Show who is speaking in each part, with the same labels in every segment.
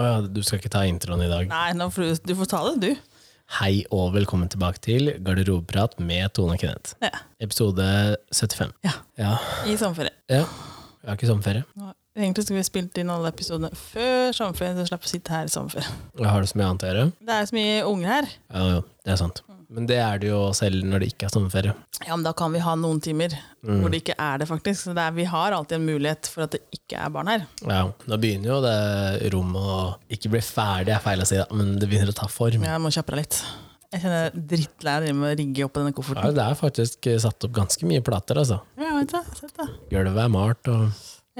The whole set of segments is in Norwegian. Speaker 1: Å ja, du skal ikke ta introen i dag.
Speaker 2: Nei, nå får du, du får ta det, du.
Speaker 1: Hei og velkommen tilbake til Garderobeprat med Tone og Kenneth.
Speaker 2: Ja.
Speaker 1: Episode 75.
Speaker 2: ja.
Speaker 1: Ja.
Speaker 2: I sommerferie.
Speaker 1: ja. Jeg har ikke sommerferie.
Speaker 2: Nå- Egentlig skulle vi spilt inn alle episodene før sommerferien, så slapp å sitte her i sommerferie.
Speaker 1: Jeg har det så mye annet å gjøre.
Speaker 2: Det er jo så mye unger her.
Speaker 1: Ja, jo, det er
Speaker 2: Mm.
Speaker 1: sant. Men det er det jo selv når det ikke er sommerferie. Mm.
Speaker 2: Ja, men da kan vi ha noen timer hvor det ikke er det, faktisk. Så det er, vi har alltid en mulighet for at det ikke er barn her.
Speaker 1: Ja, Nå begynner jo det rommet å ikke bli ferdig, er feil å si, da, men det begynner å ta form. Ja.
Speaker 2: Jeg må kjappe deg litt. Jeg kjenner jeg er drittlei av å drive med å rigge opp i denne kofferten.
Speaker 1: det er faktisk eh, satt opp ganske mye plater, altså.
Speaker 2: Ja, jeg vet det. jeg har sett det.
Speaker 1: Gulvet er malt, og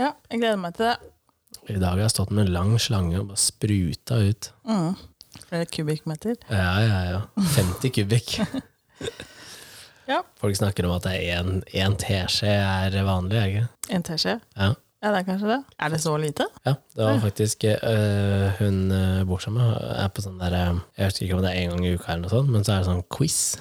Speaker 2: Ja, jeg gleder meg til det.
Speaker 1: i dag har jeg stått med en lang slange og bare spruta ut.
Speaker 2: Mm. Flere kubikkmeter.
Speaker 1: Ja, ja, ja. 50 kubikk.
Speaker 2: Ja.
Speaker 1: Folk snakker om at det er en- en teskje er vanlig, er ikke?
Speaker 2: En teskje.
Speaker 1: Ja.
Speaker 2: Ja, det er kanskje det. Er det så lite?
Speaker 1: Ja, det var faktisk øh, hun øh, bor sammen med, er på sånn der øh, Jeg husker ikke om det er en gang i uka eller noe sånt, men så er det sånn quiz.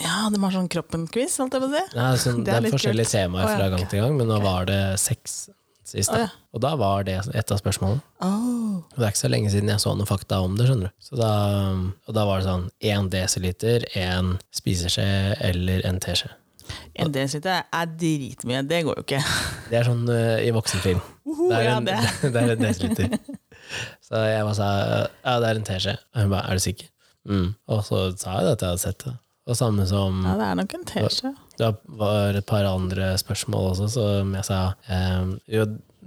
Speaker 2: Ja, de har sånn kroppen-quiz, holdt jeg på å si.
Speaker 1: Nei, sånn,
Speaker 2: Det
Speaker 1: det
Speaker 2: er
Speaker 1: er,
Speaker 2: litt
Speaker 1: forskjellige
Speaker 2: kult.
Speaker 1: temaer
Speaker 2: Å, ja,
Speaker 1: fra gang
Speaker 2: ok.
Speaker 1: til gang, men nå var det seks sist.
Speaker 2: Å,
Speaker 1: Da.
Speaker 2: ja.
Speaker 1: Og da var det et av spørsmålene.
Speaker 2: Oh.
Speaker 1: Og Det er ikke så lenge siden jeg så noen fakta om det, skjønner du. Så da, og da var det sånn én desiliter, én spiseskje eller en teskje.
Speaker 2: En desiliter er dritmye. Det går jo ikke.
Speaker 1: Det er sånn øh, i voksenfilm.
Speaker 2: Uhu,
Speaker 1: det, er
Speaker 2: ja,
Speaker 1: en,
Speaker 2: det.
Speaker 1: det. er en desiliter. Så jeg bare sa ja, det er en teskje. Og hun bare er du sikker? Mm. Og så sa jeg det at jeg hadde sett det. Og samme som
Speaker 2: Mm. Ja, det er nok en teskje.
Speaker 1: det var et par andre spørsmål også, som jeg sa ehm, Jo,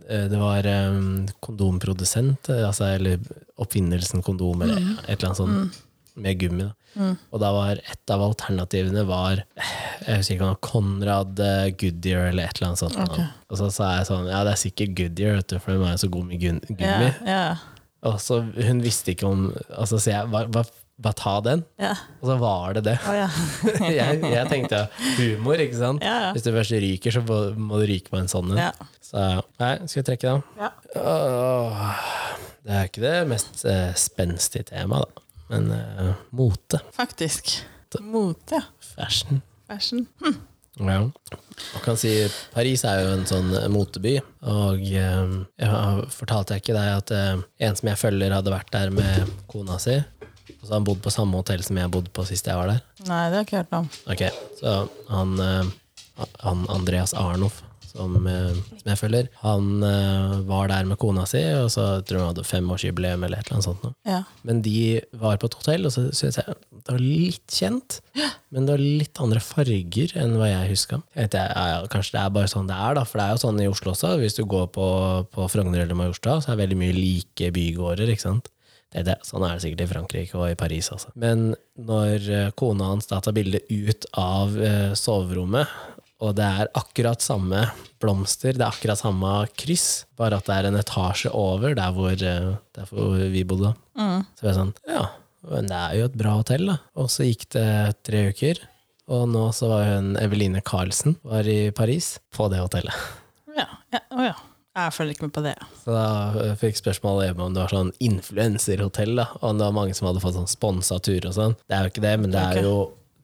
Speaker 1: eh, det var ehm, kondomprodusent, eh, altså, eller oppfinnelsen kondom, eller
Speaker 2: Mm.
Speaker 1: et eller annet sånt, med gummi. Da. Og da var et av alternativene var eh, Jeg husker ikke om det var Konrad eh, Goodyear eller et eller annet sånt.
Speaker 2: Ok.
Speaker 1: Og så sa jeg sånn Ja, det er sikkert Goodyear, vet du, for de er jo så gode med gun-
Speaker 2: Ja,
Speaker 1: gummi.
Speaker 2: ja,
Speaker 1: Og så hun visste ikke om Altså, så jeg bare bare- bare ta den.
Speaker 2: ja.
Speaker 1: Og så var det det
Speaker 2: Å, ja.
Speaker 1: jeg, jeg tenkte humor, ikke sant?
Speaker 2: Ja, ja.
Speaker 1: Hvis du først ryker, så må, må du ryke på en sånn en.
Speaker 2: Ja.
Speaker 1: Så nei, skal jeg trekke den?
Speaker 2: Ja.
Speaker 1: Åh, Det er ikke det mest eh, spenstige temaet, da. Men eh, mote,
Speaker 2: Faktisk. Mote.
Speaker 1: fashion
Speaker 2: Fashion.
Speaker 1: ja. Man kan si Paris er jo en sånn moteby, og eh, jeg har- fortalte jeg ikke deg at eh, en som jeg følger, hadde vært der med kona si, og så har han bodd på samme hotell som jeg bodde på sist jeg var der.
Speaker 2: Nei, det har jeg ikke hørt om.
Speaker 1: Ok, så han, eh, han Andreas Arnoff, som, eh, som jeg følger, han eh, var der med kona si, og så tror jeg han hadde femårsjubileum eller et eller annet sånt. nå.
Speaker 2: Ja.
Speaker 1: Men de var på et hotell, og så syntes jeg det var litt kjent, men det var litt andre farger enn hva jeg huska. Jeg tenkte, ja, ja, kanskje det er bare sånn det er, da, for det er jo sånn i Oslo også. Hvis du går på, på Frogner eller Majorstad, så er det veldig mye like bygårder, ikke sant. Det er det. Sånn er det sikkert i Frankrike og i Paris. Altså. Men når eh, kona hans da tar bilde ut av eh, soverommet, og det er akkurat samme blomster, det er akkurat samme kryss, bare at det er en etasje over der hvor, eh, der hvor vi bodde. Så var jeg sånn, ja, men det er jo et bra hotell da. Og så gikk det tre uker, og nå så var hun Eveline Carlsen, var i Paris, på det hotellet.
Speaker 2: Ja. ja. Å ja. Jeg følger ikke med på det.
Speaker 1: Så da eh, fikk spørsmålet hjemme om det var sånn influenserhotell da, og det var mange som hadde fått sånn sponsa tur og sånn. Det er jo ikke det, men det
Speaker 2: Ok.
Speaker 1: er jo...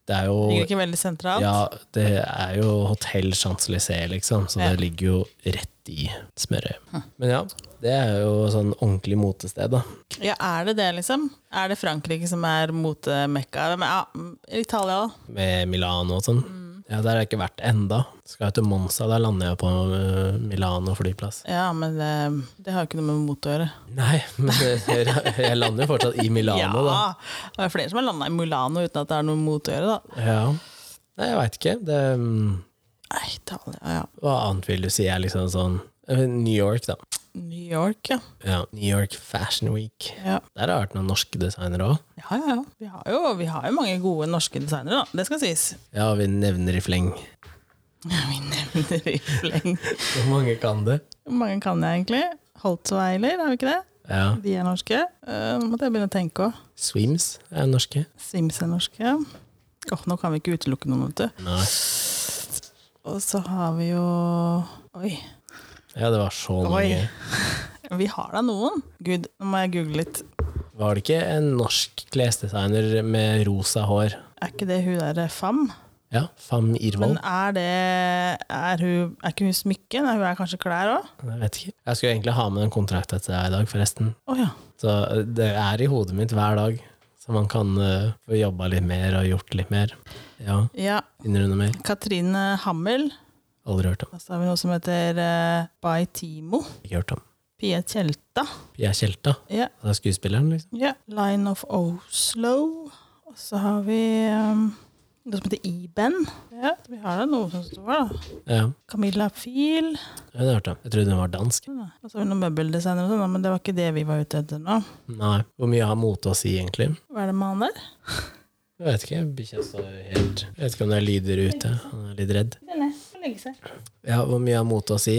Speaker 1: Det er jo
Speaker 2: Ligger ikke veldig sentralt.
Speaker 1: ja, det er jo Hotell Champs-Élysées, liksom, så
Speaker 2: Ja.
Speaker 1: det ligger jo rett i smøret. Men ja, det er jo sånn ordentlig motested, da.
Speaker 2: Ja, er det det, liksom? Er det Frankrike som er motemekka? Men, ja, mm, Italia, da?
Speaker 1: Med Milano og sånn. Ja, Der har jeg ikke vært enda. Skal jeg til Monza, der lander jeg på øh, Milano flyplass.
Speaker 2: Ja, men det, det har jo ikke noe med mote å gjøre.
Speaker 1: Nei, men jeg, jeg lander jo fortsatt i Milano, da.
Speaker 2: ja! Det er flere som har landa i Milano uten at det er noe mot å gjøre, da.
Speaker 1: Ja. Nei, jeg veit ikke. Det, mm,
Speaker 2: Nei, Italia, ja.
Speaker 1: hva annet vil du si er liksom sånn eh, New York, da.
Speaker 2: New York, ja.
Speaker 1: Ja, New York Fashion Week.
Speaker 2: Ja,
Speaker 1: Der har det vært noen norske designere òg.
Speaker 2: ja, ja. ja. Vi, har jo, vi har jo mange gode norske designere, da. Det skal sies.
Speaker 1: Ja, vi nevner i fleng.
Speaker 2: Vi nevner i fleng.
Speaker 1: Hvor mange kan det?
Speaker 2: Hvor mange kan jeg egentlig? Holtzweiler, er vi ikke det?
Speaker 1: Ja.
Speaker 2: De er norske. Eh, Nå måtte jeg begynne å tenke òg.
Speaker 1: Swims er jo norske.
Speaker 2: Sims er norske. Åh, nå kan vi ikke utelukke noen, vet du.
Speaker 1: Nei.
Speaker 2: Og så har vi jo Oi.
Speaker 1: Ja, det var så
Speaker 2: Oi.
Speaker 1: mange.
Speaker 2: Vi har da noen. Gud, nå må jeg google litt.
Speaker 1: Var det ikke en norsk klesdesigner med rosa hår?
Speaker 2: Er ikke det hun der eh, Fam?
Speaker 1: Ja, Fam Irvold.
Speaker 2: Men er det Er, hun, er ikke hun smykke? Nei, hun er kanskje klær òg?
Speaker 1: Jeg vet ikke. Jeg skulle egentlig ha med en kontrakt etter deg i dag, forresten.
Speaker 2: Å ja.
Speaker 1: Så eh, det er i hodet mitt hver dag. Så man kan eh, få jobba litt mer og gjort litt mer. Ja,
Speaker 2: Ja.
Speaker 1: finner du noe mer?
Speaker 2: Katrine Hammel.
Speaker 1: Aldri hørt om.
Speaker 2: Og så har vi noe som heter uh, By Timo.
Speaker 1: Ikke hørt om.
Speaker 2: Pia Tjelta.
Speaker 1: Pia Tjelta,
Speaker 2: Ja.
Speaker 1: det er skuespilleren, liksom.
Speaker 2: ja. Line of Oslo. Og så har vi um, noe som heter Iben. Ja, vi har da noe som står da.
Speaker 1: Ja,
Speaker 2: Camilla Fiel.
Speaker 1: det har jeg hørt om. Jeg trodde hun var dansk.
Speaker 2: Og så har vi noen møbeldesignere og sånn, da, men det var ikke det vi var ute etter nå.
Speaker 1: Nei. Hvor mye har mote å si, egentlig?
Speaker 2: Hva er det med han der?
Speaker 1: Jeg vet ikke. Bikkja står helt Jeg vet ikke om det er lyder ute. Han er litt redd.
Speaker 2: Den er å legge seg.
Speaker 1: Ja, hvor mye har mote å si?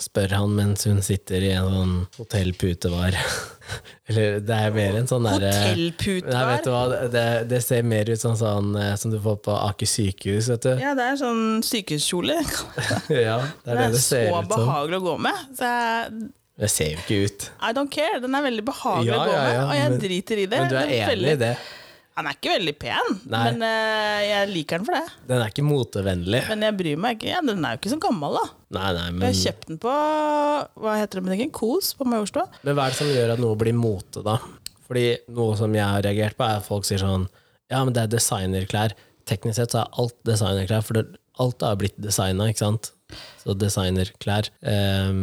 Speaker 1: Spør han mens hun sitter i en sånn hotellputevar. Eller det er mer en sånn derre Nei, vet
Speaker 2: Hotellputer.
Speaker 1: du hva, det, det ser mer ut som sånn eh, som du får på Aker sykehus, vet du.
Speaker 2: Ja, det er sånn sykehuskjole.
Speaker 1: Ja, det er det det ser
Speaker 2: så
Speaker 1: ut som.
Speaker 2: behagelig å gå med. Så jeg,
Speaker 1: Det ser jo ikke ut.
Speaker 2: I don't care. Den er veldig behagelig
Speaker 1: Ja,
Speaker 2: å gå
Speaker 1: ja, ja,
Speaker 2: med, og jeg
Speaker 1: men-
Speaker 2: driter i det.
Speaker 1: Men du er
Speaker 2: Den
Speaker 1: enig i
Speaker 2: veldig-
Speaker 1: det?
Speaker 2: Han er ikke veldig pen,
Speaker 1: Nei.
Speaker 2: men eh, jeg liker den for det.
Speaker 1: Den er ikke motevennlig.
Speaker 2: Men jeg bryr meg ikke. Ja, den er jo ikke så gammel, da.
Speaker 1: Nei, nei,
Speaker 2: Jeg
Speaker 1: men,
Speaker 2: har kjøpt den på hva heter det, butikken? Kos på Majorstua.
Speaker 1: men hva er det som gjør at noe blir mote, da? Fordi noe som jeg har reagert på, er at folk sier sånn Ja, men det er designerklær. Teknisk sett så er alt designerklær, for det, alt har blitt designa, ikke sant? Så designerklær ehm,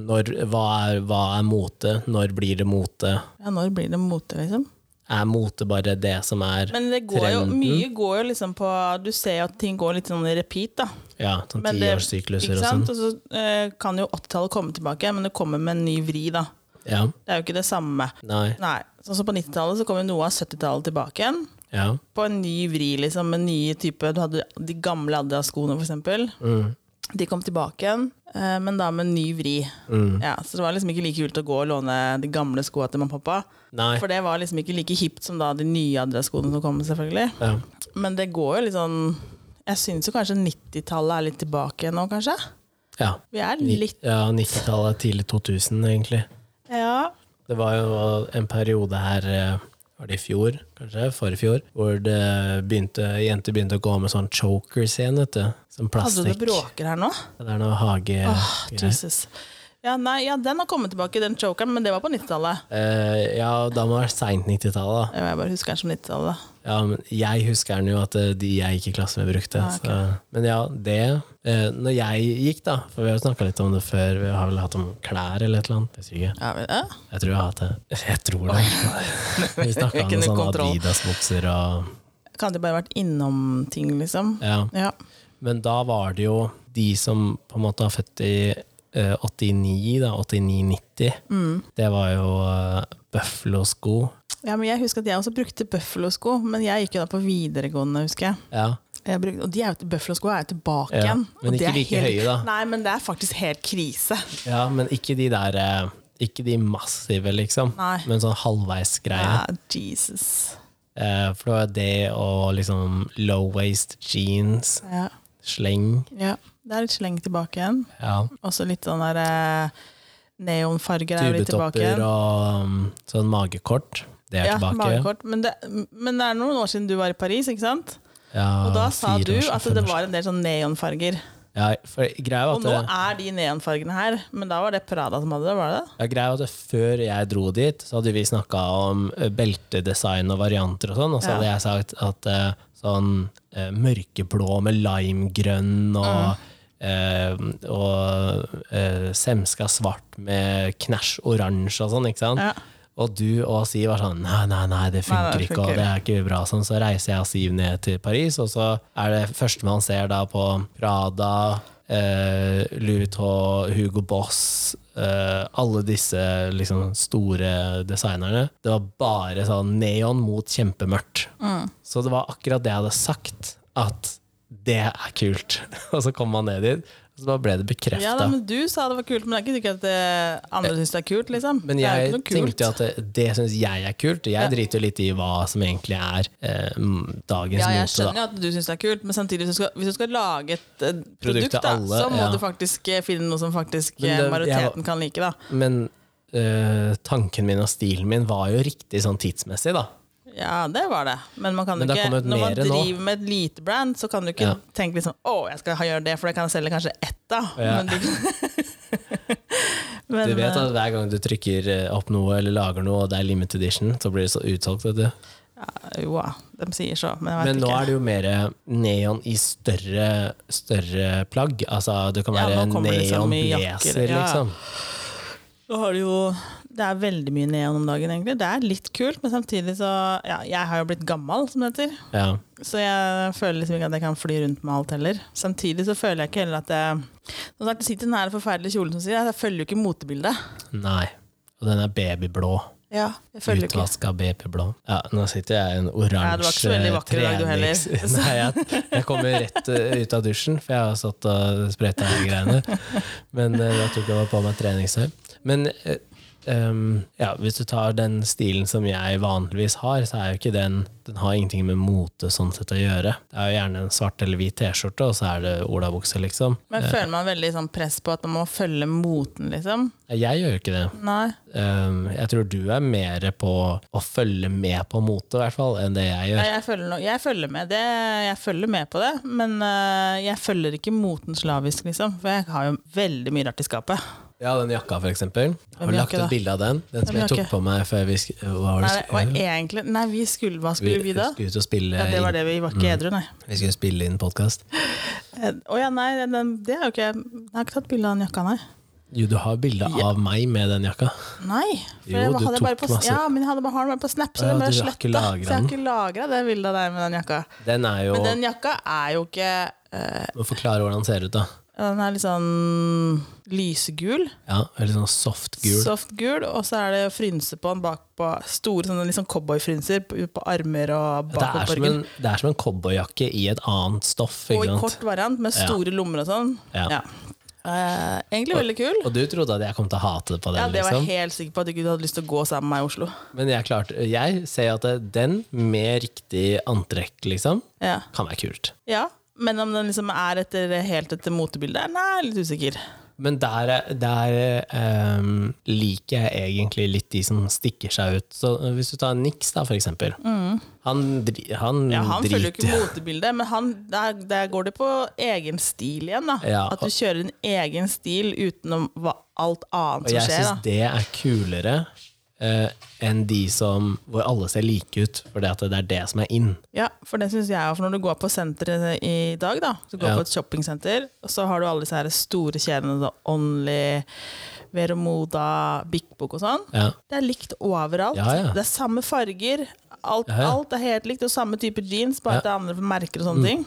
Speaker 1: når, hva, er, hva er mote? Når blir det mote?
Speaker 2: Ja, når blir det mote, liksom?
Speaker 1: Er mote bare det som er
Speaker 2: Men det går jo,
Speaker 1: Trenden.
Speaker 2: mye går jo liksom på Du ser jo at ting går litt sånn i repeat, da.
Speaker 1: ja, sånn
Speaker 2: Men det-
Speaker 1: tiårssykluser
Speaker 2: Ikke
Speaker 1: og sånn?
Speaker 2: sant? Og så eh, kan jo 80-tallet komme tilbake, men det kommer med en ny vri, da.
Speaker 1: Ja.
Speaker 2: Det er jo ikke det samme.
Speaker 1: Nei.
Speaker 2: Nei. Sånn som på 90-tallet så kom jo noe av 70-tallet tilbake igjen.
Speaker 1: Ja.
Speaker 2: På en ny vri, liksom, med nye type Du hadde de gamle Adidas-skoene, for eksempel.
Speaker 1: Mm.
Speaker 2: De kom tilbake igjen, eh, men da med en ny vri.
Speaker 1: Mm.
Speaker 2: Ja, så det var liksom ikke like kult å gå og låne de gamle skoene til mamma og pappa.
Speaker 1: Nei.
Speaker 2: For det var liksom ikke like hipt som da de nye Adidas-skoene som kom, selvfølgelig.
Speaker 1: Ja.
Speaker 2: Men det går jo litt sånn Jeg syns jo kanskje 90-tallet er litt tilbake nå, kanskje.
Speaker 1: ja.
Speaker 2: Vi er
Speaker 1: Ni-
Speaker 2: litt
Speaker 1: ja 90-tallet, tidlig 2000, egentlig.
Speaker 2: Ja.
Speaker 1: Det var jo en periode her, eh, var det i fjor, kanskje, forrige fjor, hvor det begynte, jenter begynte å gå med sånn chokers igjen, vet du. Som
Speaker 2: Hadde
Speaker 1: plastikk.
Speaker 2: du bråker her nå?
Speaker 1: Det er noe hage...
Speaker 2: Ah, Jesus. Ja, nei, ja, den har kommet tilbake, den chokeren, men det var på 90-tallet.
Speaker 1: Eh, ja, da må det være seint 90-tallet. da.
Speaker 2: Ja, Jeg bare husker den som 90-tallet.
Speaker 1: Ja, men jeg husker den jo at eh, de jeg gikk i klasse med, brukte.
Speaker 2: Ah, ok.
Speaker 1: så. Men ja, det eh, Når jeg gikk, da, for vi har jo snakka litt om det før, vi har vel hatt om klær eller et eller annet. Jeg husker ikke.
Speaker 2: Ja, vel, ja.
Speaker 1: Jeg tror jeg har hatt det. Jeg tror det. Vi snakka
Speaker 2: Ikke
Speaker 1: om sånn
Speaker 2: noe
Speaker 1: sånne
Speaker 2: kontroll.
Speaker 1: Adidas-bukser og
Speaker 2: Kan det bare vært innom ting, liksom?
Speaker 1: ja.
Speaker 2: Ja.
Speaker 1: Men da var det jo de som på en måte var født i eh, 89, da, 89-90.
Speaker 2: Mm.
Speaker 1: Det var jo eh, Buffalo-sko.
Speaker 2: ja, men jeg husker at jeg også brukte Buffalo-sko, men jeg gikk jo da på videregående, husker jeg.
Speaker 1: Ja.
Speaker 2: jeg brukte, og de er jo- Buffalo-sko er jo tilbake
Speaker 1: Ja,
Speaker 2: igjen.
Speaker 1: men
Speaker 2: og det
Speaker 1: ikke
Speaker 2: er
Speaker 1: like
Speaker 2: helt,
Speaker 1: høye, da.
Speaker 2: Nei, men det er faktisk helt krise.
Speaker 1: ja, men ikke de der eh, Ikke de massive, liksom,
Speaker 2: Nei.
Speaker 1: men sånn halvveisgreie.
Speaker 2: Ja, Ah, Jesus.
Speaker 1: Eh, for det var det og liksom low-waist jeans,
Speaker 2: Ja.
Speaker 1: sleng.
Speaker 2: ja. Det er litt sleng tilbake igjen.
Speaker 1: Ja.
Speaker 2: Også litt sånn der eh, neonfarger er jo litt tilbake igjen.
Speaker 1: Tubetopper og mm, sånn magekort. Det er
Speaker 2: ja,
Speaker 1: tilbake.
Speaker 2: Magekort, men, det, men det er noen år siden du var i Paris, ikke sant?
Speaker 1: Ja,
Speaker 2: Og da sa
Speaker 1: Ah, fire
Speaker 2: du
Speaker 1: år siden,
Speaker 2: at
Speaker 1: fem år
Speaker 2: det
Speaker 1: siden.
Speaker 2: var en del sånn neonfarger.
Speaker 1: ja, for greia var at
Speaker 2: Og nå
Speaker 1: det,
Speaker 2: er de neonfargene her, men da var det Prada som hadde det, var det det?
Speaker 1: Ja, greia er at Før jeg dro dit, så hadde vi snakka om eh, beltedesign og varianter og sånn, og så
Speaker 2: Ja.
Speaker 1: hadde jeg sagt at eh, sånn eh, mørkeblå med limegrønn og eh, og eh, semska svart med knæsj oransje og sånn, ikke sant?
Speaker 2: Ja.
Speaker 1: Og du og Siv var sånn Nei, nei, nei, det
Speaker 2: Nei,
Speaker 1: funker
Speaker 2: det
Speaker 1: ikke, og
Speaker 2: funker
Speaker 1: det er ikke bra. Sånn, så reiser jeg og Siv ned til Paris, og så er det første man ser da på Prada, eh, Louis Vuitton, Hugo Boss eh, Alle disse liksom store designerne. Det var bare sånn neon mot kjempemørkt. Så det var akkurat det jeg hadde sagt, at det er kult. og så kom man ned dit, og så bare ble det bekrefta.
Speaker 2: Ja da, men du sa det var kult, men det er ikke sikkert at eh, andre syns det er kult, liksom.
Speaker 1: Men
Speaker 2: det er
Speaker 1: jeg
Speaker 2: jo ikke noe kult.
Speaker 1: tenkte at liksom det, det syns jeg er kult. Jeg
Speaker 2: Ja.
Speaker 1: driter jo litt i hva som egentlig er eh, m- dagens
Speaker 2: ja, jeg
Speaker 1: mote.
Speaker 2: skjønner
Speaker 1: Da.
Speaker 2: jo at du syns det er kult, men samtidig hvis du skal, hvis du skal lage et eh,
Speaker 1: Produkt
Speaker 2: produkt,
Speaker 1: til
Speaker 2: da,
Speaker 1: alle,
Speaker 2: så må
Speaker 1: ja.
Speaker 2: du faktisk eh, finne noe som faktisk
Speaker 1: Men
Speaker 2: eh,
Speaker 1: det- jeg var-
Speaker 2: majoriteten kan like. da.
Speaker 1: Men eh, tanken min og stilen min var jo riktig sånn tidsmessig, da.
Speaker 2: Ja, det var det. Men man kan
Speaker 1: Men det
Speaker 2: ikke,
Speaker 1: har kommet
Speaker 2: når man
Speaker 1: mere nå.
Speaker 2: driver med et lite brand, så kan du ikke
Speaker 1: Ja.
Speaker 2: tenke liksom, å, jeg skal ha- gjøre det, for det kan jeg selge kanskje ett av.
Speaker 1: Ja.
Speaker 2: Men, du, Men,
Speaker 1: Du vet
Speaker 2: eh,
Speaker 1: at hver gang du trykker eh, opp noe eller lager noe, og det er limited edition, så blir det så utsolgt. vet du.
Speaker 2: ja, eh, Jo da, de sier så, men jeg vet
Speaker 1: Men nå
Speaker 2: ikke.
Speaker 1: er det jo mer neon i større, større plagg. Altså, det kan
Speaker 2: Ja,
Speaker 1: være
Speaker 2: nå kommer det så mye jakker.
Speaker 1: neonblazer,
Speaker 2: Ja.
Speaker 1: liksom.
Speaker 2: Nå har det jo Det er veldig mye neon om dagen, egentlig. Det er litt kult, men samtidig så Ja, jeg har jo blitt gammel, som det heter.
Speaker 1: Ja.
Speaker 2: Så jeg føler liksom ikke at jeg kan fly rundt med alt heller. Samtidig så føler jeg ikke heller at jeg Nå snart sitter den her forferdelige kjolen som sier Jeg følger jo ikke motebildet.
Speaker 1: Nei. Og den er babyblå.
Speaker 2: Ja, jeg følger jo ikke
Speaker 1: Utvaska babyblå. Ja, nå sitter jeg i en
Speaker 2: Nei, du var ikke så
Speaker 1: oransje
Speaker 2: veldig vakker i dag, du heller.
Speaker 1: trenings... Nei, jeg, jeg kommer rett eh, ut av dusjen, for jeg har stått og sprøyta de greiene. Men eh, jeg tok over på meg treningstøy. Men eh, ehm, ja, hvis du tar den stilen som jeg vanligvis har, så er jo ikke den Den har ingenting med mote sånn sett å gjøre. Det er jo gjerne en svart eller hvit T-skjorte, og så er det olabukse, liksom.
Speaker 2: Men føler man veldig sånn press på at man må følge moten, liksom?
Speaker 1: Jeg gjør jo ikke det.
Speaker 2: Nei.
Speaker 1: Um, jeg tror du er mer på å følge med på mote, i hvert fall, enn det jeg
Speaker 2: Nei,
Speaker 1: gjør.
Speaker 2: Jeg følger, no jeg, følger med det. jeg følger med på det, men øh, jeg følger ikke moten slavisk, liksom. For jeg har jo veldig mye rart i skapet.
Speaker 1: Ja, den jakka, for eksempel. Har du
Speaker 2: Hvem
Speaker 1: lagt
Speaker 2: jakke,
Speaker 1: ut
Speaker 2: da?
Speaker 1: bilde av den? Den som
Speaker 2: Hvem
Speaker 1: jeg tok
Speaker 2: jakke?
Speaker 1: på meg før vi sk- hva var
Speaker 2: Nei,
Speaker 1: det
Speaker 2: det var egentlig, nei vi skulle, hva skulle vi da?
Speaker 1: skulle Mm. ut og spille
Speaker 2: Ja, det var det, vi var ikke edru, nei.
Speaker 1: inn, vi skulle spille inn podkast.
Speaker 2: Eh, Å ja, nei, den, det er jo ikke Jeg har ikke tatt bilde av den jakka, nei.
Speaker 1: Jo, du har bilde av meg med den jakka.
Speaker 2: Nei.
Speaker 1: Jo,
Speaker 2: For jeg
Speaker 1: du
Speaker 2: hadde bare
Speaker 1: tok
Speaker 2: på,
Speaker 1: masse.
Speaker 2: ja, men jeg hadde bare, har den bare på Snap, så
Speaker 1: Å ja,
Speaker 2: den ble
Speaker 1: du har ikke
Speaker 2: sletta. Så
Speaker 1: lagret
Speaker 2: jeg har ikke lagra det bildet av deg med den jakka.
Speaker 1: Den er jo
Speaker 2: Men den jakka er jo ikke øh,
Speaker 1: Må forklare hvordan den ser ut, da.
Speaker 2: Den er litt sånn lysegul.
Speaker 1: Ja, Veldig sånn soft gul.
Speaker 2: Soft gul, og så er det frynser på den bakpå. Store sånne liksom cowboyfrynser på, på armer og
Speaker 1: det, er
Speaker 2: bak på
Speaker 1: som
Speaker 2: ryggen.
Speaker 1: en, det er som en cowboyjakke i et annet stoff.
Speaker 2: Og i
Speaker 1: Ikke sant?
Speaker 2: kort variant med store lommer og sånn.
Speaker 1: Ja.
Speaker 2: Eh, egentlig veldig kul.
Speaker 1: Og du trodde at jeg kom til å hate det på den?
Speaker 2: Ja, det var
Speaker 1: liksom.
Speaker 2: jeg helt sikker på at du ikke hadde lyst til å gå sammen med meg i Oslo.
Speaker 1: Men jeg, klarte, jeg ser at det- den med riktig antrekk, liksom,
Speaker 2: Ja.
Speaker 1: kan være kult.
Speaker 2: ja. Men om den liksom er etter, helt etter motebildet? Nei, jeg er litt usikker.
Speaker 1: Men der, er- der ehm, liker jeg egentlig litt de som stikker seg ut. Så eh, hvis du tar Nix, da, for eksempel. Han, dri, han,
Speaker 2: Mm. Ja, han følger jo ikke
Speaker 1: driter
Speaker 2: motebildet, men han, der, der går det på egen stil igjen. da.
Speaker 1: Ja,
Speaker 2: At du kjører din egen stil utenom hva, alt
Speaker 1: Og
Speaker 2: annet
Speaker 1: jeg
Speaker 2: som skjer.
Speaker 1: syns
Speaker 2: da.
Speaker 1: det er kulere eh, enn de som hvor alle ser like ut, for det, at det er det som er in.
Speaker 2: Ja, for det synes jeg også, for Når du går på senteret i dag, da, så går du
Speaker 1: Ja.
Speaker 2: på et shoppingsenter, og så har du alle disse her store kjedene, da, Only, Vero Moda, Big Book og sånn.
Speaker 1: Ja.
Speaker 2: Det er likt overalt.
Speaker 1: Ja, ja.
Speaker 2: Det er samme farger. Alt,
Speaker 1: Ja, Mm. ja.
Speaker 2: alt er helt likt, og samme type jeans, bare at det er andre merker og sånne ting.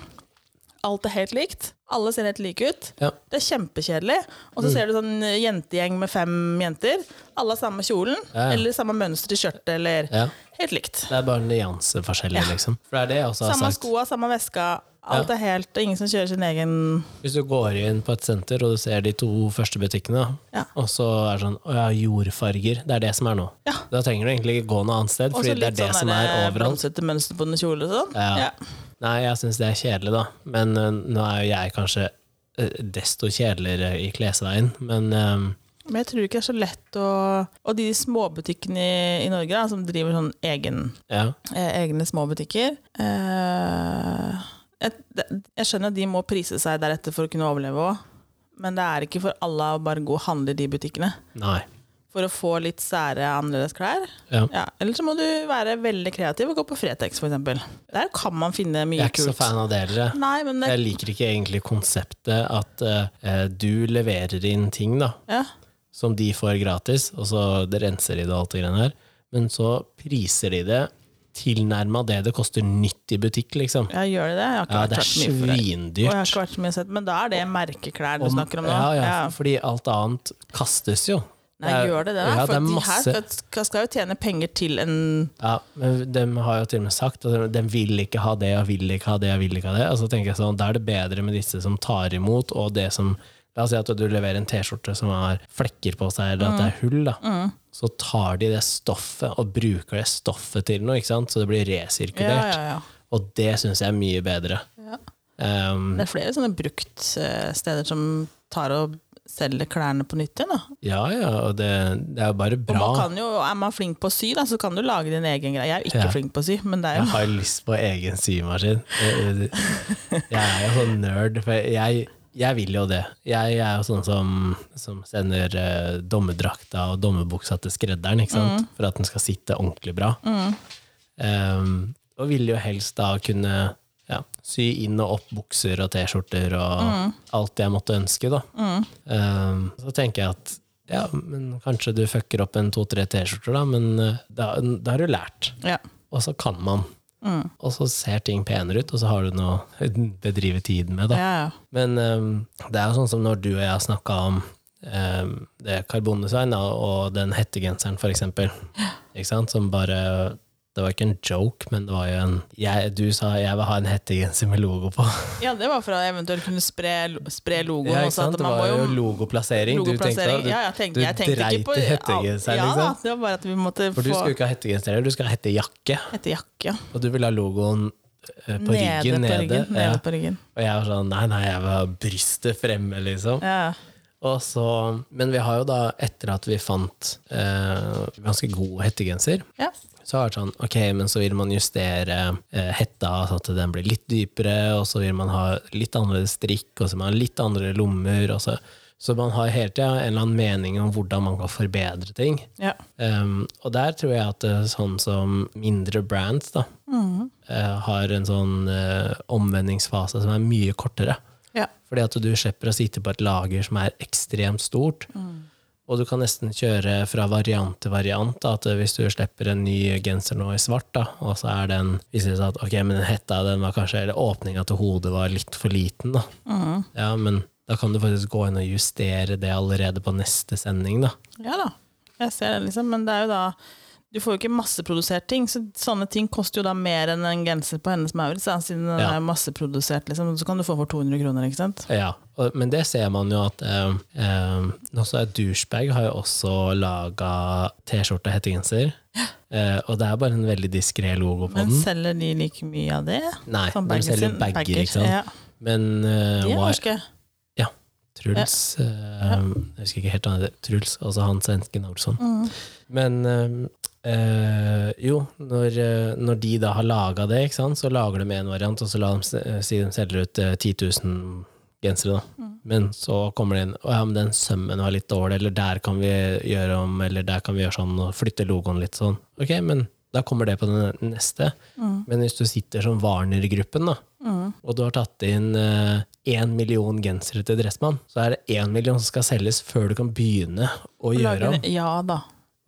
Speaker 2: Alt er helt likt. Alle ser helt like ut.
Speaker 1: Ja.
Speaker 2: Det er kjempekjedelig.
Speaker 1: Mm.
Speaker 2: Og så ser du sånn eh, jentegjeng med fem jenter. Alle har samme kjolen,
Speaker 1: Ja, ja.
Speaker 2: eller samme mønster i skjørtet, eller
Speaker 1: ja.
Speaker 2: Helt likt.
Speaker 1: Det er bare nyanseforskjeller, liksom. For det er det jeg også har
Speaker 2: Samme
Speaker 1: sagt.
Speaker 2: skoa, samme veska. Alt er helt, og ingen som kjører sin egen
Speaker 1: Hvis du går inn på et senter og du ser de to første butikkene,
Speaker 2: Ja.
Speaker 1: og så er det sånn Å ja, jordfarger. Det er det som er nå.
Speaker 2: Ja.
Speaker 1: Da trenger du egentlig ikke gå noe annet sted, fordi det er
Speaker 2: sånn
Speaker 1: det som er overalt.
Speaker 2: blomstrete eh, mønster på under kjole og sånn.
Speaker 1: Ja. Nei, jeg syns det er kjedelig, da. Men eh, nå er jo jeg kanskje eh, desto kjedeligere i klesveien, men eh,
Speaker 2: Men jeg tror ikke det er så lett å Og de småbutikkene i, i Norge da, som driver sånn egen,
Speaker 1: ja.
Speaker 2: eh, egne småbutikker eh, jeg, det- jeg skjønner at de må prise seg deretter for å kunne overleve òg, men det er ikke for alle å bare gå og handle i de butikkene.
Speaker 1: Nei.
Speaker 2: For å få litt sære, annerledes klær.
Speaker 1: Ja.
Speaker 2: Ja, Eller så må du være veldig kreativ og gå på Fretex, for eksempel Der kan man finne
Speaker 1: Jeg
Speaker 2: mye
Speaker 1: er ikke så
Speaker 2: kult.
Speaker 1: fan av det heller. jeg.
Speaker 2: Nei, men det,
Speaker 1: Jeg liker ikke egentlig konseptet at eh, du leverer inn ting, da.
Speaker 2: ja.
Speaker 1: som de får gratis, og så det renser de det og alt det greiene her. Men så priser de det tilnærma det det koster nytt i butikk, liksom.
Speaker 2: ja, gjør de det? Jeg har ikke
Speaker 1: Ja, det
Speaker 2: vært
Speaker 1: er
Speaker 2: så mye for det. Og jeg har
Speaker 1: svindyrt.
Speaker 2: ikke vært så mye sett, men da er det merkeklær du snakker om nå?
Speaker 1: Ja, ja, fordi alt annet kastes jo.
Speaker 2: Nei,
Speaker 1: Det er-
Speaker 2: gjør det det? da?
Speaker 1: Ja,
Speaker 2: for
Speaker 1: det er
Speaker 2: de
Speaker 1: masse.
Speaker 2: her skal, skal jo tjene penger til en
Speaker 1: Ja, men de har jo til og med sagt at de- de vil ikke ha det og vil ikke ha det og vil ikke ha det. Og så tenker jeg sånn, da er det bedre med disse som tar imot, og det som La oss si at du leverer en T-skjorte som har flekker på seg, eller at det
Speaker 2: Mm.
Speaker 1: er hull. da. Så tar de det stoffet og bruker det stoffet til noe, ikke sant? så det blir resirkulert.
Speaker 2: Ja, ja, ja.
Speaker 1: Og det syns jeg er mye bedre.
Speaker 2: Ja.
Speaker 1: Um,
Speaker 2: Det er flere sånne bruktsteder som tar og selger klærne på nytt igjen. da.
Speaker 1: ja, ja, og det, det er jo bare
Speaker 2: Og man
Speaker 1: bra.
Speaker 2: kan jo, er man flink på å sy, da, så kan du lage din egen greie. Jeg er jo ikke
Speaker 1: Ja.
Speaker 2: flink på å sy, men det er
Speaker 1: Jeg
Speaker 2: jo
Speaker 1: har lyst på egen symaskin. Jeg jeg er jo sånn nerd, for jeg Jeg vil jo det. Jeg er jo sånn som, som sender eh, dommerdrakta og dommerbuksa til skredderen, ikke sant? for at den skal sitte ordentlig bra. Ehm, og vil jo helst da kunne ja, sy inn og opp bukser og T-skjorter og alt jeg måtte ønske, da. Ehm, så tenker jeg at ja, men kanskje du fucker opp en to-tre T-skjorter, da, men eh, da, da har du lært.
Speaker 2: Ja. Mm.
Speaker 1: Og så kan man. Og så ser ting penere ut, og så har du noe å bedrive tiden med, da.
Speaker 2: Ja, ja.
Speaker 1: Men ehm, det er jo sånn som når du og jeg har snakka om ehm, det karbondesign da, og den hettegenseren, for eksempel. Ikke sant? Som bare Det var ikke en joke, men det var jo en jeg, Du sa 'jeg vil ha en hettegenser med logo på'.
Speaker 2: ja, det var for å eventuelt kunne spre, spre logoen.
Speaker 1: Ja, ikke
Speaker 2: også, at
Speaker 1: sant? Det
Speaker 2: man må
Speaker 1: var jo
Speaker 2: jo
Speaker 1: logoplassering. Du tenkte,
Speaker 2: Logoplassering.
Speaker 1: du,
Speaker 2: Ja, jeg tenkte,
Speaker 1: du
Speaker 2: jeg tenkte
Speaker 1: dreit
Speaker 2: ikke på
Speaker 1: i hettegenseren,
Speaker 2: Ja, da,
Speaker 1: liksom.
Speaker 2: det var bare at vi måtte
Speaker 1: For du
Speaker 2: få
Speaker 1: skulle ikke ha hettegenser, eller du skulle ha hettejakke.
Speaker 2: hettejakke.
Speaker 1: Og du ville ha logoen eh, på
Speaker 2: Nede
Speaker 1: ryggen,
Speaker 2: på
Speaker 1: nede.
Speaker 2: ryggen.
Speaker 1: ja.
Speaker 2: Nede på ryggen.
Speaker 1: Og jeg var sånn Nei, nei, jeg vil ha brystet fremme, liksom.
Speaker 2: Ja.
Speaker 1: Og så, men vi har jo da, etter at vi fant eh, ganske god hettegenser,
Speaker 2: ja.
Speaker 1: så har det vært sånn, ok, men så vil man justere eh, hetta sånn at den blir litt dypere, og så vil man ha litt annerledes strikk, og så vil man ha litt andre lommer, og så, så man har hele tiden en eller annen mening om hvordan man kan forbedre ting.
Speaker 2: ja.
Speaker 1: Um, og der tror jeg at eh, sånn som mindre brands da,
Speaker 2: Mhm.
Speaker 1: eh, har en sånn eh, omvendingsfase som er mye kortere.
Speaker 2: ja.
Speaker 1: Fordi at du slipper å sitte på et lager som er ekstremt stort. Og du kan nesten kjøre fra variant til variant. Da, at hvis du slipper en ny genser nå i svart, da, og så er den, viser det seg at ok, men den hetta den var kanskje, eller åpninga til hodet var litt for liten, da. Ja, men da kan du faktisk gå inn og justere det allerede på neste sending, da.
Speaker 2: Ja da, jeg ser det liksom, men det er jo da du får jo ikke masseprodusert ting, så sånne ting koster jo da mer enn en genser på hennes Maurits, da, siden den
Speaker 1: Ja.
Speaker 2: er masseprodusert, liksom, så kan du få for 200 kroner, ikke sant?
Speaker 1: Ja, og, men det ser man jo at eh, eh, Også er douchebag har jo også laga T-skjorte og hettegenser. Eh, og det er bare en veldig diskré logo på
Speaker 2: Men
Speaker 1: den.
Speaker 2: selger de like mye av det?
Speaker 1: Nei,
Speaker 2: Sånn
Speaker 1: de
Speaker 2: baggen
Speaker 1: selger
Speaker 2: sin,
Speaker 1: bager,
Speaker 2: bagger,
Speaker 1: ikke sant.
Speaker 2: Ja.
Speaker 1: Men eh,
Speaker 2: De er
Speaker 1: Wire-
Speaker 2: norske.
Speaker 1: Truls eh, Jeg husker ikke helt hva han heter. Truls, altså han svensken Olsson. Men eh, eh, jo, når, eh, når de da har laga det, ikke sant, så lager de en variant, og så la dem, se- eh, si de selger ut eh, 10 000 gensere, da. Men så kommer det inn Å ja, men den sømmen var litt dårlig, eller der kan vi gjøre om, eller der kan vi gjøre sånn, og flytte logoen litt sånn. Ok, men da kommer det på den neste. Men hvis du sitter som Warner-gruppen, da, og du har tatt inn én million gensere til Dressmann, så er det én million som skal selges før du kan begynne å gjøre om.
Speaker 2: Lager- Ja da.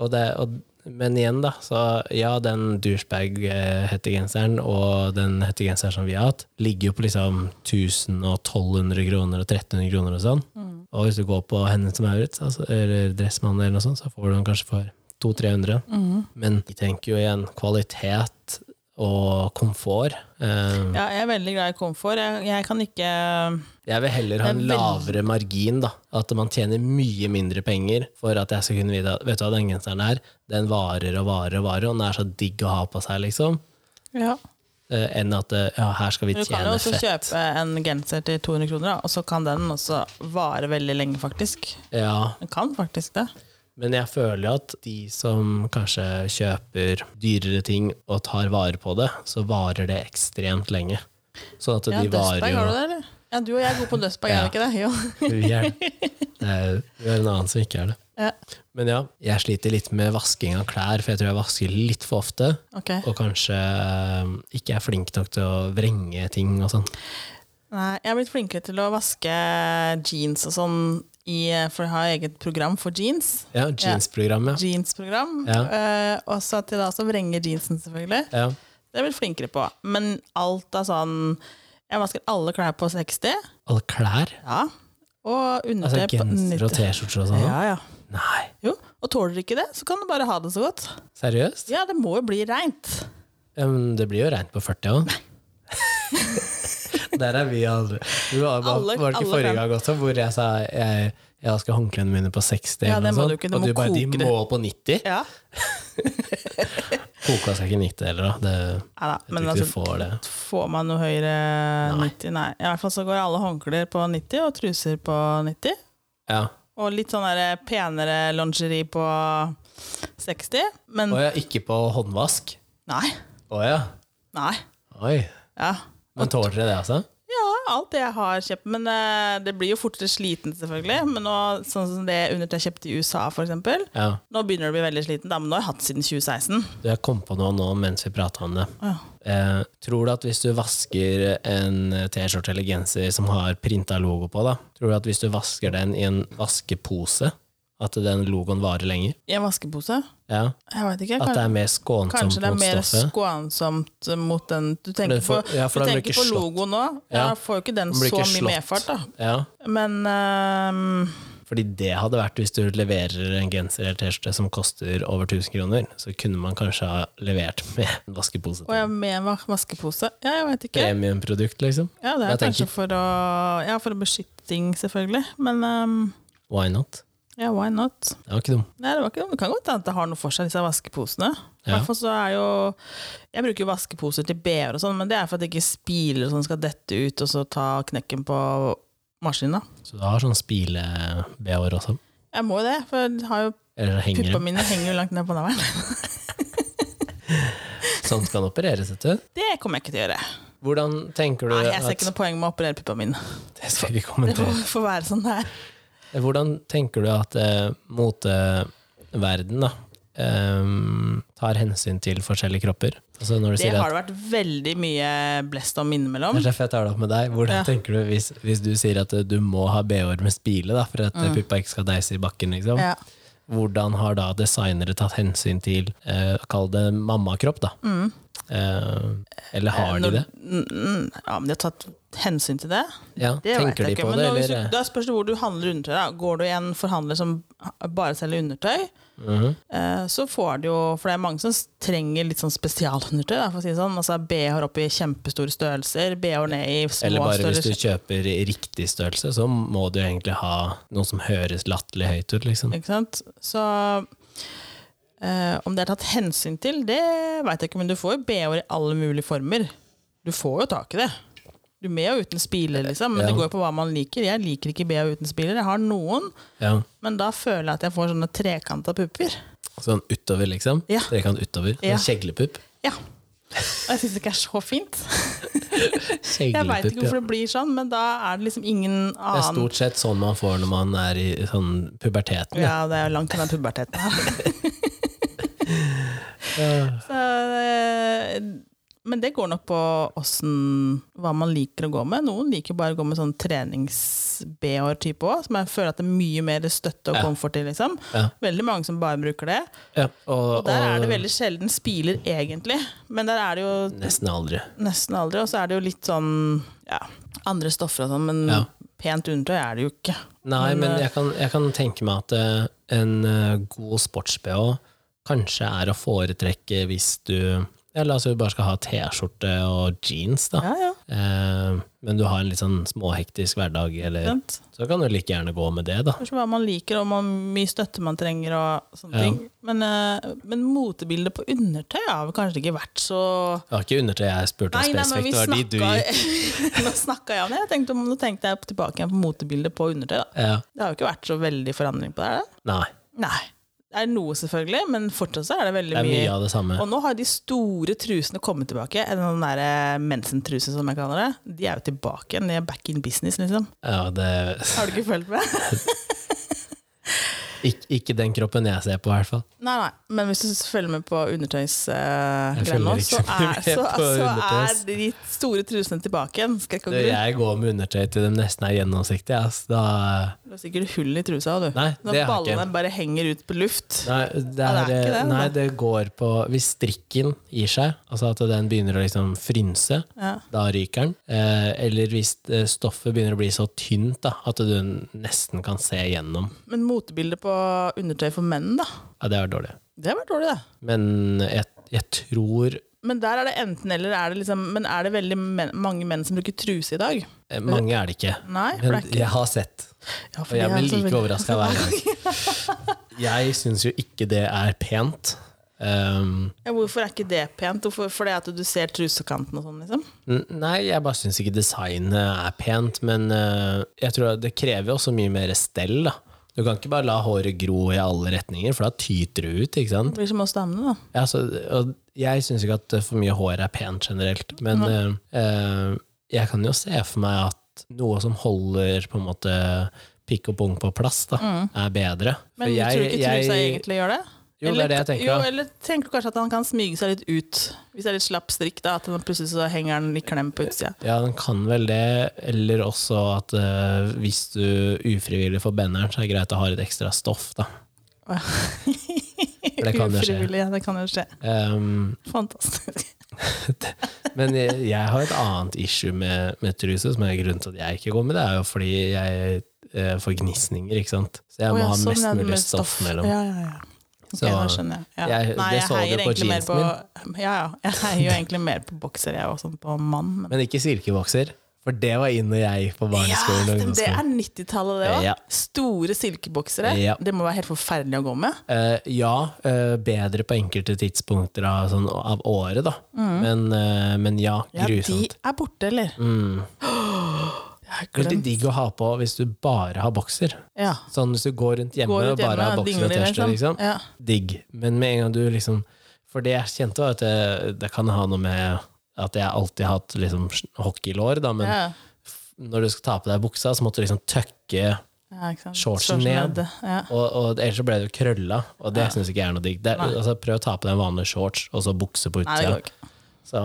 Speaker 1: Og det, og, men igjen, da. Så ja, den douchebag-hettegenseren og den hettegenseren som vi har hatt, ligger jo på liksom 1000 og 1200 kroner og 1300 kroner og sånn. Og hvis du går på henne som Maurits, altså, eller Dressmann eller noe sånt, så får du den kanskje for 200-300. Men vi tenker jo igjen kvalitet og komfort. Eh,
Speaker 2: Ja, jeg er veldig glad i komfort. Jeg, jeg kan ikke
Speaker 1: jeg vil heller ha en
Speaker 2: Det er veldig-
Speaker 1: lavere margin, da. At man tjener mye mindre penger for at jeg skal kunne vite at vet du hva, den genseren her, den varer og varer og varer, og den er så digg å ha på seg, liksom.
Speaker 2: ja.
Speaker 1: Eh, Enn at eh, ja, her skal vi
Speaker 2: Du kan jo
Speaker 1: tjene
Speaker 2: også
Speaker 1: fett.
Speaker 2: kjøpe en genser til 200 kroner, da, og så kan den også vare veldig lenge, faktisk.
Speaker 1: Ja,
Speaker 2: Den kan faktisk det.
Speaker 1: men jeg føler jo at de som kanskje kjøper dyrere ting og tar vare på det, så varer det ekstremt lenge. Sånn at
Speaker 2: Ja,
Speaker 1: de varer
Speaker 2: dustbag, har du
Speaker 1: jo
Speaker 2: det, eller? Ja, du og jeg er gode på dustbag, er
Speaker 1: Ja.
Speaker 2: vi ikke det? Jo.
Speaker 1: Vi er det. Det er jo- vi har en annen som ikke er det.
Speaker 2: Ja.
Speaker 1: Men ja, jeg sliter litt med vasking av klær, for jeg tror jeg vasker litt for ofte.
Speaker 2: Ok.
Speaker 1: og kanskje eh, ikke er flink nok til å vrenge ting og sånn.
Speaker 2: Nei, jeg har blitt flinkere til å vaske jeans og sånn, i, for jeg har eget program for jeans.
Speaker 1: Ja, jeansprogrammet.
Speaker 2: Jeansprogram.
Speaker 1: Ja.
Speaker 2: Eh, og så at jeg da også vrenger jeansen, selvfølgelig.
Speaker 1: Ja.
Speaker 2: Det har jeg blitt flinkere på. Men alt av sånn Jeg vasker alle klær på 60,
Speaker 1: Alle klær.
Speaker 2: ja. og undertøy
Speaker 1: Altså
Speaker 2: på
Speaker 1: genser og
Speaker 2: 90.
Speaker 1: T-skjorter og sånn.
Speaker 2: Ja, ja.
Speaker 1: Nei,
Speaker 2: Jo. Og tåler du ikke det, så kan du bare ha det så godt.
Speaker 1: seriøst?
Speaker 2: Ja, det må jo bli reint.
Speaker 1: Ja, men det blir jo reint på 40 òg. Der er vi aldri. Du var, var,
Speaker 2: Alle-
Speaker 1: var det
Speaker 2: alle
Speaker 1: ikke forrige
Speaker 2: kan.
Speaker 1: gang også, hvor jeg sa jeg, jeg vasker håndklærne mine på 60,
Speaker 2: Ja,
Speaker 1: eller
Speaker 2: det
Speaker 1: noe
Speaker 2: må
Speaker 1: sånt,
Speaker 2: du ikke, det
Speaker 1: og
Speaker 2: må
Speaker 1: du bare de
Speaker 2: koke det.
Speaker 1: må på 90?
Speaker 2: Ja.
Speaker 1: Koka seg ikke 90 heller, da. Det,
Speaker 2: Ja da,
Speaker 1: jeg tror ikke
Speaker 2: men
Speaker 1: du
Speaker 2: altså,
Speaker 1: får det.
Speaker 2: får man noe høyere 90? Nei. I hvert fall så går alle håndklær på 90, og truser på 90.
Speaker 1: Ja.
Speaker 2: Og litt sånn der penere lingerie på 60. Men
Speaker 1: Å ja, ikke på håndvask?
Speaker 2: nei.
Speaker 1: Å ja.
Speaker 2: Nei.
Speaker 1: Oi.
Speaker 2: Ja.
Speaker 1: Men tåler dere det, altså?
Speaker 2: ja, alt det jeg har kjøpt. Men eh, det blir jo fortere sliten, selvfølgelig. Men nå, sånn som det undertøyet jeg kjøpte i USA, for eksempel.
Speaker 1: Ja,
Speaker 2: Nå begynner det å bli veldig sliten, da, men nå har jeg hatt det siden 2016.
Speaker 1: Jeg kom på noe nå mens vi prata om det.
Speaker 2: Ja.
Speaker 1: Eh, tror du at hvis du vasker en T-skjorte eller genser som har printa logo på, da, tror du at hvis du vasker den i en vaskepose, at den logoen varer lenger?
Speaker 2: I en vaskepose?
Speaker 1: Ja.
Speaker 2: Jeg veit ikke.
Speaker 1: At det
Speaker 2: Kanskje,
Speaker 1: er mer skånsomt
Speaker 2: kanskje det er
Speaker 1: mot
Speaker 2: mer
Speaker 1: stoffet?
Speaker 2: skånsomt eh, mot den Du tenker
Speaker 1: det får-
Speaker 2: på,
Speaker 1: ja, for
Speaker 2: du
Speaker 1: den blir
Speaker 2: tenker
Speaker 1: ikke
Speaker 2: på
Speaker 1: slått.
Speaker 2: logoen nå. Ja.
Speaker 1: Ja.
Speaker 2: får jo ikke den
Speaker 1: Den blir
Speaker 2: så
Speaker 1: ikke
Speaker 2: mye
Speaker 1: slått.
Speaker 2: medfart, da.
Speaker 1: Ja,
Speaker 2: Men eh,
Speaker 1: fordi det hadde vært hvis du leverer en genser eller T-skjorte som koster over 1000 kroner, så kunne man kanskje ha levert med en vaskepose.
Speaker 2: Og
Speaker 1: Til.
Speaker 2: jeg er med en vas- vaskepose? Ja, jeg veit ikke.
Speaker 1: Premiumprodukt, liksom.
Speaker 2: Ja, det er
Speaker 1: Jeg tenker-
Speaker 2: kanskje for å, ja, for å beskytte ting, selvfølgelig. Men ehm,
Speaker 1: Why not?
Speaker 2: ja, why not?
Speaker 1: Det var ikke dumt.
Speaker 2: Nei, det, var ikke, det kan godt hende at det har noe for seg, disse vaskeposene. I
Speaker 1: Ja.
Speaker 2: hvert fall så er jo Jeg bruker jo vaskeposer til BH-er og sånn, men det er for at ikke spiler og sånn skal dette ut og så ta knekken på maskinen, da.
Speaker 1: Så du har sånn spile-BH-er også?
Speaker 2: Jeg må jo det, for jeg har jo
Speaker 1: Eller så henger
Speaker 2: puppa
Speaker 1: de?
Speaker 2: mine henger jo langt ned på navlen.
Speaker 1: Sånn skal den opereres, vet du.
Speaker 2: Det kommer jeg ikke til å gjøre.
Speaker 1: Hvordan tenker du
Speaker 2: Nei, Jeg ser
Speaker 1: at
Speaker 2: ikke noe poeng med å operere puppa mine.
Speaker 1: Det skal jeg ikke
Speaker 2: Det
Speaker 1: kommentere.
Speaker 2: får- får være sånn det er.
Speaker 1: Hvordan tenker du at eh, moteverden da, eh, tar hensyn til forskjellige kropper? Altså når du
Speaker 2: Det
Speaker 1: sier
Speaker 2: har
Speaker 1: at,
Speaker 2: det vært veldig mye blest om innimellom.
Speaker 1: det er derfor jeg tar det opp med deg. Hvordan
Speaker 2: Ja.
Speaker 1: tenker du hvis, hvis du sier at eh, du må ha BH-er med spile da, for at eh, puppa ikke skal deise i bakken? Liksom.
Speaker 2: Mm. Ja.
Speaker 1: Hvordan har da designere tatt hensyn til eh, Kall det mammakropp, da. Eh, eller har de
Speaker 2: Mm. Når-
Speaker 1: det?
Speaker 2: Mm, mm, Ja, men de har tatt hensyn til det.
Speaker 1: Ja,
Speaker 2: Det vet
Speaker 1: tenker de
Speaker 2: jeg ikke.
Speaker 1: på
Speaker 2: Men
Speaker 1: det,
Speaker 2: nå, hvis
Speaker 1: eller? eh,
Speaker 2: du, da spørs det hvor du handler undertøy. Da. Går du i en forhandler som bare selger undertøy,
Speaker 1: Mhm.
Speaker 2: eh, så får du jo For det er mange som trenger litt sånn spesialundertøy, da, for å si det sånn. Altså BH-er opp i kjempestore størrelser, BH-er ned i små
Speaker 1: Eller bare hvis du
Speaker 2: størrelser.
Speaker 1: kjøper i riktig størrelse, så må du egentlig ha noe som høres latterlig høyt ut, liksom.
Speaker 2: Ikke sant? Så eh, om det er tatt hensyn til, det veit jeg ikke, men du får jo BH-er i alle mulige former. Du får jo tak i det. Du er med og uten spiler, liksom, men
Speaker 1: Ja.
Speaker 2: det går jo på hva man liker. Jeg liker ikke BH uten spiler. Jeg har noen,
Speaker 1: Ja.
Speaker 2: men da føler jeg at jeg får sånne trekanta pupper.
Speaker 1: Sånn utover, liksom?
Speaker 2: Ja.
Speaker 1: Trekant utover?
Speaker 2: Ja.
Speaker 1: Sånn Kjeglepupp?
Speaker 2: Ja. Og jeg syns det ikke er så fint. Jeg veit
Speaker 1: Kjeglepupp,
Speaker 2: ikke hvorfor det blir sånn, men da er det liksom ingen
Speaker 1: ja. Det er
Speaker 2: annen
Speaker 1: stort sett sånn man får når man er i sånn puberteten.
Speaker 2: Ja, det er jo langt unna puberteten her.
Speaker 1: Ja.
Speaker 2: Så, eh, men det går nok på åssen Hva man liker å gå med. Noen liker bare å gå med sånn trenings-BH-type òg, som jeg føler at det er mye mer støtte og
Speaker 1: Ja.
Speaker 2: komfort i, liksom.
Speaker 1: Ja.
Speaker 2: Veldig mange som bare bruker det.
Speaker 1: Ja. Og, og
Speaker 2: Der er det veldig sjelden spiler, egentlig. Men der er det jo
Speaker 1: nesten aldri.
Speaker 2: nesten aldri. Og så er det jo litt sånn ja, andre stoffer og sånn, men
Speaker 1: Ja.
Speaker 2: pent undertøy er det jo ikke.
Speaker 1: Nei,
Speaker 2: Men,
Speaker 1: men
Speaker 2: eh,
Speaker 1: jeg kan, jeg kan tenke meg at eh, en eh, god sports-BH kanskje er å foretrekke hvis du ja, La oss si du bare skal ha T-skjorte og jeans, da.
Speaker 2: Ja, ja.
Speaker 1: Eh, men du har en litt sånn småhektisk hverdag, eller,
Speaker 2: Sant?
Speaker 1: så kan du like gjerne gå med det, da.
Speaker 2: Kanskje hva man liker, og hvor mye støtte man trenger og sånne
Speaker 1: Ja.
Speaker 2: ting. Men, eh, men motebildet på undertøy har vel kanskje ikke vært så
Speaker 1: Det var ikke undertøy jeg spurte om spesifikt, det var de du gikk.
Speaker 2: snakka Nå snakka jeg om det. Jeg tenkte, nå tenkte jeg tilbake igjen på motebildet på undertøy. Da.
Speaker 1: Ja.
Speaker 2: Det har jo ikke vært så veldig forandring på det. er det?
Speaker 1: Nei.
Speaker 2: Nei. Det er noe, selvfølgelig, men fortsatt så er det veldig
Speaker 1: Det er
Speaker 2: mye.
Speaker 1: mye av det samme.
Speaker 2: Og nå har de store trusene kommet tilbake. En sånn der eh, mensentruse, som jeg kaller det. De er jo tilbake igjen. De er back in business, liksom.
Speaker 1: Ja, det,
Speaker 2: Har du ikke følt med?
Speaker 1: ikke, ikke den kroppen jeg ser på, i hvert fall.
Speaker 2: Nei, nei. Men hvis du følger med på
Speaker 1: Jeg
Speaker 2: undertøysgreiene
Speaker 1: følger
Speaker 2: nå,
Speaker 1: ikke
Speaker 2: så er,
Speaker 1: med
Speaker 2: så,
Speaker 1: på
Speaker 2: så er
Speaker 1: undertøys.
Speaker 2: de store trusene tilbake igjen. Skal jeg
Speaker 1: Du,
Speaker 2: ikke grunn?
Speaker 1: Jeg går med undertøy til de nesten er gjennomsiktige. ass. Da,
Speaker 2: Du har sikkert hull i trusa, du.
Speaker 1: Nei,
Speaker 2: Når
Speaker 1: det har jeg
Speaker 2: ballene bare henger ut på luft.
Speaker 1: Nei, det,
Speaker 2: Ja,
Speaker 1: er,
Speaker 2: det er ikke det,
Speaker 1: nei,
Speaker 2: da.
Speaker 1: det går på Hvis strikken gir seg, altså at den begynner å liksom frynse,
Speaker 2: Ja.
Speaker 1: da ryker den. Eh, eller hvis eh, stoffet begynner å bli så tynt da, at du nesten kan se gjennom.
Speaker 2: Men motebildet på undertøy for menn, da.
Speaker 1: Ja, det er dårlig.
Speaker 2: Det har vært dårlig, det.
Speaker 1: Men jeg, jeg tror
Speaker 2: Men der er det enten eller. Er det liksom, men er det veldig men, mange menn som bruker truse i dag?
Speaker 1: eh, Mange er det ikke.
Speaker 2: Nei, for det
Speaker 1: Men
Speaker 2: er ikke
Speaker 1: jeg har sett,
Speaker 2: Ja,
Speaker 1: og
Speaker 2: for
Speaker 1: jeg
Speaker 2: de er
Speaker 1: blir
Speaker 2: så
Speaker 1: like
Speaker 2: veldig-
Speaker 1: overraska hver gang. Jeg syns jo ikke det er pent. Um,
Speaker 2: Ja, hvorfor er ikke det pent? Hvorfor, fordi at du ser trusekanten og sånn, liksom?
Speaker 1: N- Nei, jeg bare syns ikke designet er pent, men eh, jeg tror at det krever jo også mye mer stell, da. Du kan ikke bare la håret gro i alle retninger, for da tyter det ut, ikke sant.
Speaker 2: Det blir som oss damene, da.
Speaker 1: Ja, så- og jeg syns ikke at for mye hår er pent generelt, men eh, eh, jeg kan jo se for meg at at noe som holder på en måte pikk og pung på plass, da, er bedre. For
Speaker 2: Mm. Men tror du ikke Truls egentlig gjør det?
Speaker 1: Jo, det er det jeg tenker.
Speaker 2: Jo,
Speaker 1: da.
Speaker 2: eller tenker du kanskje at han kan smyge seg litt ut? Hvis det er litt slapp strikk, da, at han plutselig så henger han litt klem på utsida.
Speaker 1: Ja, den kan vel det, eller også at eh, hvis du ufrivillig får benderen, så er det greit å ha litt ekstra stoff, da. For det kan jo skje.
Speaker 2: Ufrivillig, ja, det kan jo skje.
Speaker 1: Um,
Speaker 2: Fantastisk.
Speaker 1: men jeg, jeg har et annet issue med, med truse, som er grunnen til at jeg ikke går med. Det er jo fordi jeg eh, får gnisninger, ikke sant. Så jeg
Speaker 2: Å,
Speaker 1: må
Speaker 2: ja,
Speaker 1: ha
Speaker 2: sånn
Speaker 1: mest
Speaker 2: er det
Speaker 1: mulig
Speaker 2: med
Speaker 1: stoff mellom.
Speaker 2: Ja, ja, ja. Ok,
Speaker 1: Så-
Speaker 2: da skjønner jeg. Ja.
Speaker 1: Jeg-
Speaker 2: Nei,
Speaker 1: det så
Speaker 2: jeg
Speaker 1: du
Speaker 2: heier
Speaker 1: på
Speaker 2: egentlig mer
Speaker 1: jeansen
Speaker 2: på Ja, ja. Jeg heier jo egentlig mer på bokser, jeg, og sånn på mann. Men
Speaker 1: Men ikke silkebokser, for det var inn når jeg gikk på
Speaker 2: ja,
Speaker 1: barneskolen og
Speaker 2: stemmer, det
Speaker 1: ungdomsskolen.
Speaker 2: er 90-tallet, det òg.
Speaker 1: Ja.
Speaker 2: Store silkeboksere.
Speaker 1: Ja.
Speaker 2: Det må være helt forferdelig å gå med.
Speaker 1: Eh, ja, eh, bedre på enkelte tidspunkter av, sånn, av året, da. Men, eh, men ja,
Speaker 2: Mm. Ja,
Speaker 1: grusomt. Mm.
Speaker 2: De er borte, eller? Jeg har
Speaker 1: Veldig
Speaker 2: glemt.
Speaker 1: digg å ha på hvis du bare har bokser.
Speaker 2: Ja.
Speaker 1: Sånn hvis du går rundt hjemme
Speaker 2: Går rundt
Speaker 1: og bare
Speaker 2: hjemme
Speaker 1: har
Speaker 2: og
Speaker 1: bokser og
Speaker 2: dingler,
Speaker 1: T-skjorte,
Speaker 2: liksom.
Speaker 1: liksom.
Speaker 2: Ja.
Speaker 1: Digg. Men med en gang du liksom For det jeg kjente, var at det, det kan ha noe med at jeg alltid har hatt liksom hockeylår, da, men
Speaker 2: Ja.
Speaker 1: når du skal ta på deg buksa, så måtte du liksom tøkke
Speaker 2: Ja, ikke sant.
Speaker 1: shortsen
Speaker 2: ned.
Speaker 1: ned.
Speaker 2: Ja.
Speaker 1: Og, og ellers så ble det jo krølla, og det synes syns ikke jeg er noe digg. Det, er- altså, prøv å ta på deg en vanlig shorts, og så bukse på
Speaker 2: Nei, det
Speaker 1: utsida.
Speaker 2: går ikke.
Speaker 1: Så,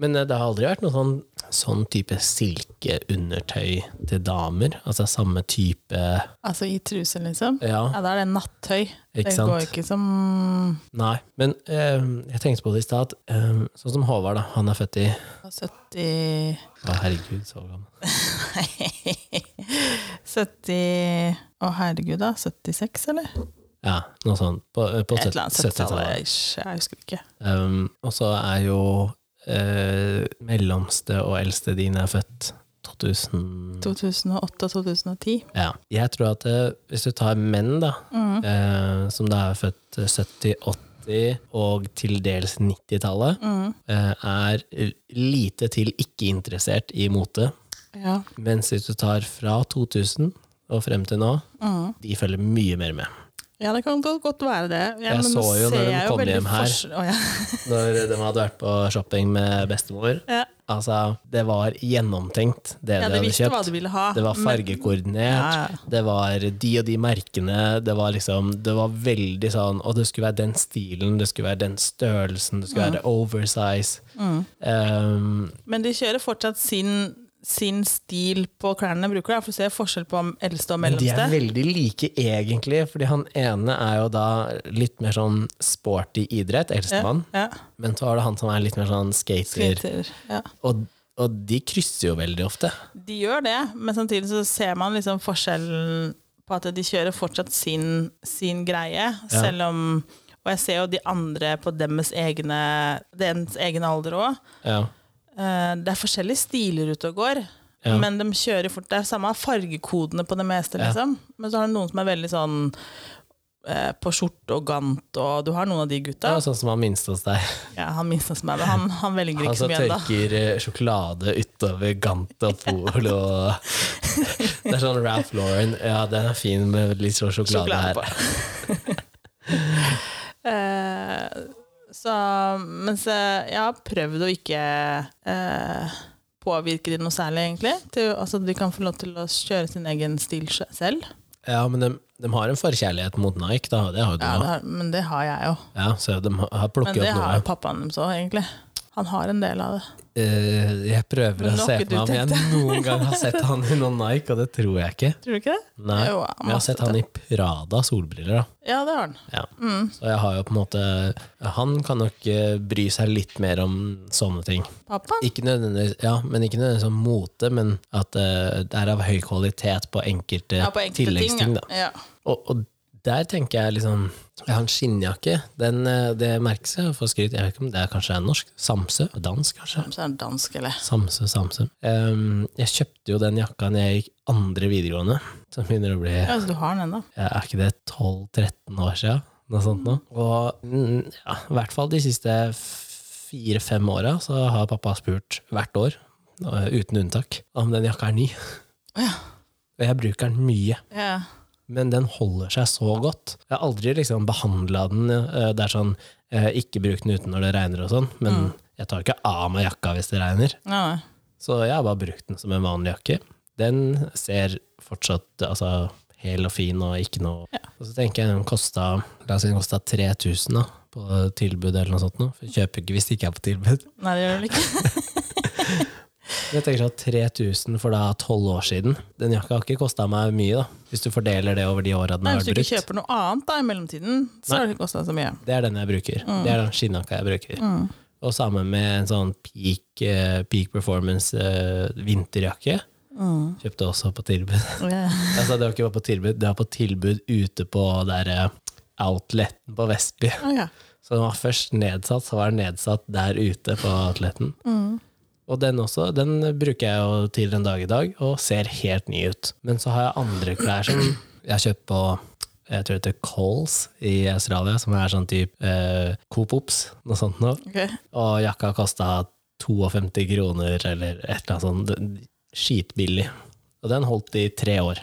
Speaker 1: men det har aldri vært noe sånn, sånn type silkeundertøy til damer. Altså samme type
Speaker 2: Altså i truse, liksom.
Speaker 1: Ja,
Speaker 2: Ja, da er det nattøy.
Speaker 1: Ikke
Speaker 2: Det
Speaker 1: sant?
Speaker 2: går ikke som
Speaker 1: nei. Men eh, jeg tenkte på det i stad. at, eh, sånn som Håvard, da. Han er født i Å,
Speaker 2: 70
Speaker 1: herregud, så gammel.
Speaker 2: 70 Å, herregud, da. 76, eller?
Speaker 1: Ja, noe sånt. På, eh, på
Speaker 2: Et eller annet 70-tallet.
Speaker 1: 70-tallet.
Speaker 2: ish. Jeg husker ikke.
Speaker 1: Um, og så er jo eh, mellomste og eldste din er født 2000
Speaker 2: 2008-2010.
Speaker 1: Ja. Jeg tror at eh, hvis du tar menn, da,
Speaker 2: Mm.
Speaker 1: eh, som da er født 70-80 og til dels 90-tallet,
Speaker 2: Mm.
Speaker 1: eh, er lite til ikke interessert i mote.
Speaker 2: Ja.
Speaker 1: Mens hvis du tar fra 2000 og frem til nå,
Speaker 2: Mm.
Speaker 1: de følger mye mer med.
Speaker 2: ja, det kan godt godt være det. Ja,
Speaker 1: Jeg
Speaker 2: men nå
Speaker 1: så jo når
Speaker 2: ser
Speaker 1: de
Speaker 2: jeg jo
Speaker 1: kom
Speaker 2: veldig
Speaker 1: hjem her.
Speaker 2: forskjell- Å, ja.
Speaker 1: Når de hadde vært på shopping med bestemor,
Speaker 2: Ja.
Speaker 1: altså, det var gjennomtenkt, det de
Speaker 2: ja, de
Speaker 1: hadde
Speaker 2: visste
Speaker 1: kjøpt.
Speaker 2: hva de ville ha.
Speaker 1: Det var
Speaker 2: men-
Speaker 1: fargekoordinert,
Speaker 2: Ja, ja.
Speaker 1: det var de og de merkene, det var liksom Det var veldig sånn Og det skulle være den stilen, det skulle være den størrelsen, det skulle
Speaker 2: Mm.
Speaker 1: være oversize. Um,
Speaker 2: Men de kjører fortsatt sin, sin stil på klærne de bruker, da, for du ser forskjell på om eldste og
Speaker 1: men de er
Speaker 2: mellomste.
Speaker 1: veldig like, egentlig, fordi han ene er jo da litt mer sånn sporty idrett, eldstemann,
Speaker 2: Ja,
Speaker 1: men så er det han som er litt mer sånn skater.
Speaker 2: skater, ja.
Speaker 1: Og, og de krysser jo veldig ofte.
Speaker 2: De gjør det, men samtidig så ser man liksom forskjellen på at de kjører fortsatt sin, sin greie, selv om Og jeg ser jo de andre på deres egne, dens egen alder òg.
Speaker 1: Ja.
Speaker 2: Eh, Det er forskjellige stiler ute og går,
Speaker 1: Ja.
Speaker 2: men de kjører fort. Det er samme fargekodene på det meste,
Speaker 1: Ja.
Speaker 2: liksom. Men så har du noen som er veldig sånn eh, på skjorte og gant, og du har noen av de
Speaker 1: Det
Speaker 2: gutta.
Speaker 1: er jo sånn som han minste hos deg.
Speaker 2: Ja, han minste som er med, han, han
Speaker 1: altså-
Speaker 2: velger
Speaker 1: Han
Speaker 2: ikke så
Speaker 1: som
Speaker 2: mye ennå.
Speaker 1: tørker eh, sjokolade utover Gant og Pol og Det er sånn Ralph Lauren. Ja, den er fin med litt sånn sjokolade,
Speaker 2: Sjokolade
Speaker 1: her.
Speaker 2: Eh, så Mens eh, jeg har prøvd å ikke eh, påvirke de noe særlig, egentlig. Til, altså, de kan få lov til å kjøre sin egen stil sj- selv.
Speaker 1: Ja, men de, de har en forkjærlighet mot Nike, da. Det har jo du
Speaker 2: Ja, det
Speaker 1: òg.
Speaker 2: har, men det har jeg jo.
Speaker 1: Ja, så de har
Speaker 2: Men
Speaker 1: plukket
Speaker 2: det
Speaker 1: opp
Speaker 2: har jo
Speaker 1: noe.
Speaker 2: pappaen deres òg, egentlig. Han har en del av det.
Speaker 1: Eh, jeg prøver å
Speaker 2: Men
Speaker 1: se
Speaker 2: lokket
Speaker 1: på meg om
Speaker 2: ut
Speaker 1: jeg noen gang har sett han i noen Nike, og det tror jeg ikke.
Speaker 2: Tror du ikke det?
Speaker 1: Nei.
Speaker 2: Jo,
Speaker 1: Men jeg har sett han i Prada solbriller, da.
Speaker 2: Ja, det har han.
Speaker 1: Ja.
Speaker 2: Mm.
Speaker 1: Så jeg har jo på en måte Han kan nok eh, bry seg litt mer om sånne ting.
Speaker 2: Pappaen?
Speaker 1: Ikke nødvendigvis, ja, men ikke nødvendigvis om mote, men at eh, det er av høy kvalitet på enkelte,
Speaker 2: Ja, på enkelte ting.
Speaker 1: tilleggsting.
Speaker 2: ja.
Speaker 1: Da.
Speaker 2: Ja.
Speaker 1: Og, og der tenker jeg liksom Jeg har en skinnjakke. Den, eh, det merkes jeg får skryt. Jeg vet ikke om det er kanskje er norsk? Samse? Dansk, kanskje?
Speaker 2: Så er han dansk, eller?
Speaker 1: Samse, Samse. Ehm, jeg kjøpte jo den jakka når jeg gikk andre videregående, som begynner å bli
Speaker 2: Ja, så du har den ennå.
Speaker 1: ja, er ikke det 12-13 år siden? Noe sånt nå. Og mm, ja, i hvert fall de siste fire-fem åra så har pappa spurt hvert år, eh, uten unntak, om den jakka er ny.
Speaker 2: Ja.
Speaker 1: Og jeg bruker den mye.
Speaker 2: Ja.
Speaker 1: Men den holder seg så godt. Jeg har aldri liksom behandla den eh, Det er sånn eh, ikke bruk den ute når det regner og sånn, men jeg tar ikke av meg jakka hvis det regner.
Speaker 2: Ja, ja.
Speaker 1: Så jeg har bare brukt den som en vanlig jakke. Den ser fortsatt altså, hel og fin og ikke noe Og så tenker jeg den kosta La oss si den kosta 3000 da, på tilbud eller noe sånt. Nå. For jeg kjøper ikke hvis det ikke er på tilbud.
Speaker 2: Nei, det gjør det vel ikke.
Speaker 1: Men Jeg tenker sånn 3000 for da tolv år siden. Den jakka har ikke kosta meg mye, da. Hvis du fordeler det over de åra den
Speaker 2: Nei,
Speaker 1: har
Speaker 2: hvis du
Speaker 1: vært
Speaker 2: ikke
Speaker 1: brukt.
Speaker 2: kjøper noe annet da i mellomtiden, så har det ikke kosta så mye.
Speaker 1: Det er den jeg bruker.
Speaker 2: Mm.
Speaker 1: Det er den skinnjakka jeg bruker. Og sammen med en sånn peak, eh, peak performance eh, vinterjakke.
Speaker 2: Mm.
Speaker 1: Kjøpte også på tilbud. Altså, det var ikke bare på tilbud, det var på tilbud ute på der eh, outleten på Vestby.
Speaker 2: Ah, ja.
Speaker 1: Så den var først nedsatt, så var den nedsatt der ute på outleten. Og den også, den bruker jeg jo til den dag i dag, og ser helt ny ut. Men så har jeg andre klær som jeg har kjøpt på jeg tror det heter Coles i Australia, som er sånn type eh, Coop Ops, noe sånt noe.
Speaker 2: Ok.
Speaker 1: Og jakka kosta 52 kroner eller et eller annet sånt. Den- Skitbillig. Og den holdt i tre år.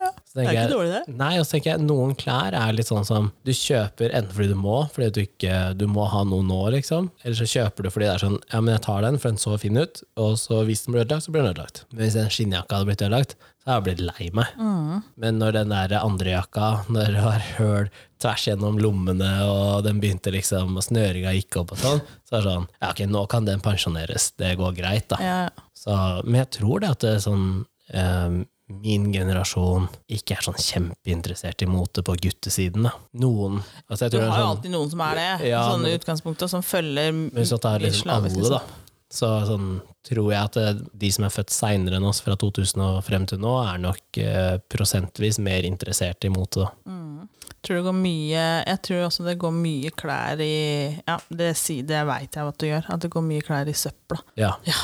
Speaker 2: Ja,
Speaker 1: Så
Speaker 2: Det er
Speaker 1: tenker
Speaker 2: ikke
Speaker 1: jeg-
Speaker 2: dårlig, det.
Speaker 1: Nei, og så tenker jeg noen klær er litt sånn som du kjøper enten fordi du må, fordi du ikke du må ha noe nå, liksom. Eller så kjøper du fordi det er sånn ja, men jeg tar den, for den så fin ut, og så hvis den blir ødelagt, så blir den ødelagt. Men hvis den skinnjakka hadde blitt ødelagt, så hadde jeg blitt lei meg. Men når den der andre jakka, når det var høl tvers gjennom lommene, og den begynte liksom, og snøringa gikk opp og sånn, så er det sånn ja, ok, nå kan den pensjoneres, det går greit, da.
Speaker 2: Ja.
Speaker 1: Så, men jeg tror det at det er sånn eh, Min generasjon ikke er sånn kjempeinteressert i mote på guttesiden. Da. Noen altså jeg
Speaker 2: Du
Speaker 1: tror det
Speaker 2: har
Speaker 1: er
Speaker 2: jo
Speaker 1: sånn,
Speaker 2: alltid noen som er det,
Speaker 1: Ja,
Speaker 2: sånn i
Speaker 1: men-
Speaker 2: utgangspunktet, som følger
Speaker 1: Hvis du tar liksom
Speaker 2: slavisk,
Speaker 1: alle, da. Så sånn, tror jeg at det, de som er født seinere enn oss, fra 2000 og frem til nå, er nok eh, prosentvis mer interessert i mote. Da.
Speaker 2: Tror det går mye, jeg tror også det går mye klær i Ja, det, si- det veit jeg at du gjør. At det går mye klær i søpla.
Speaker 1: Ja.
Speaker 2: Ja.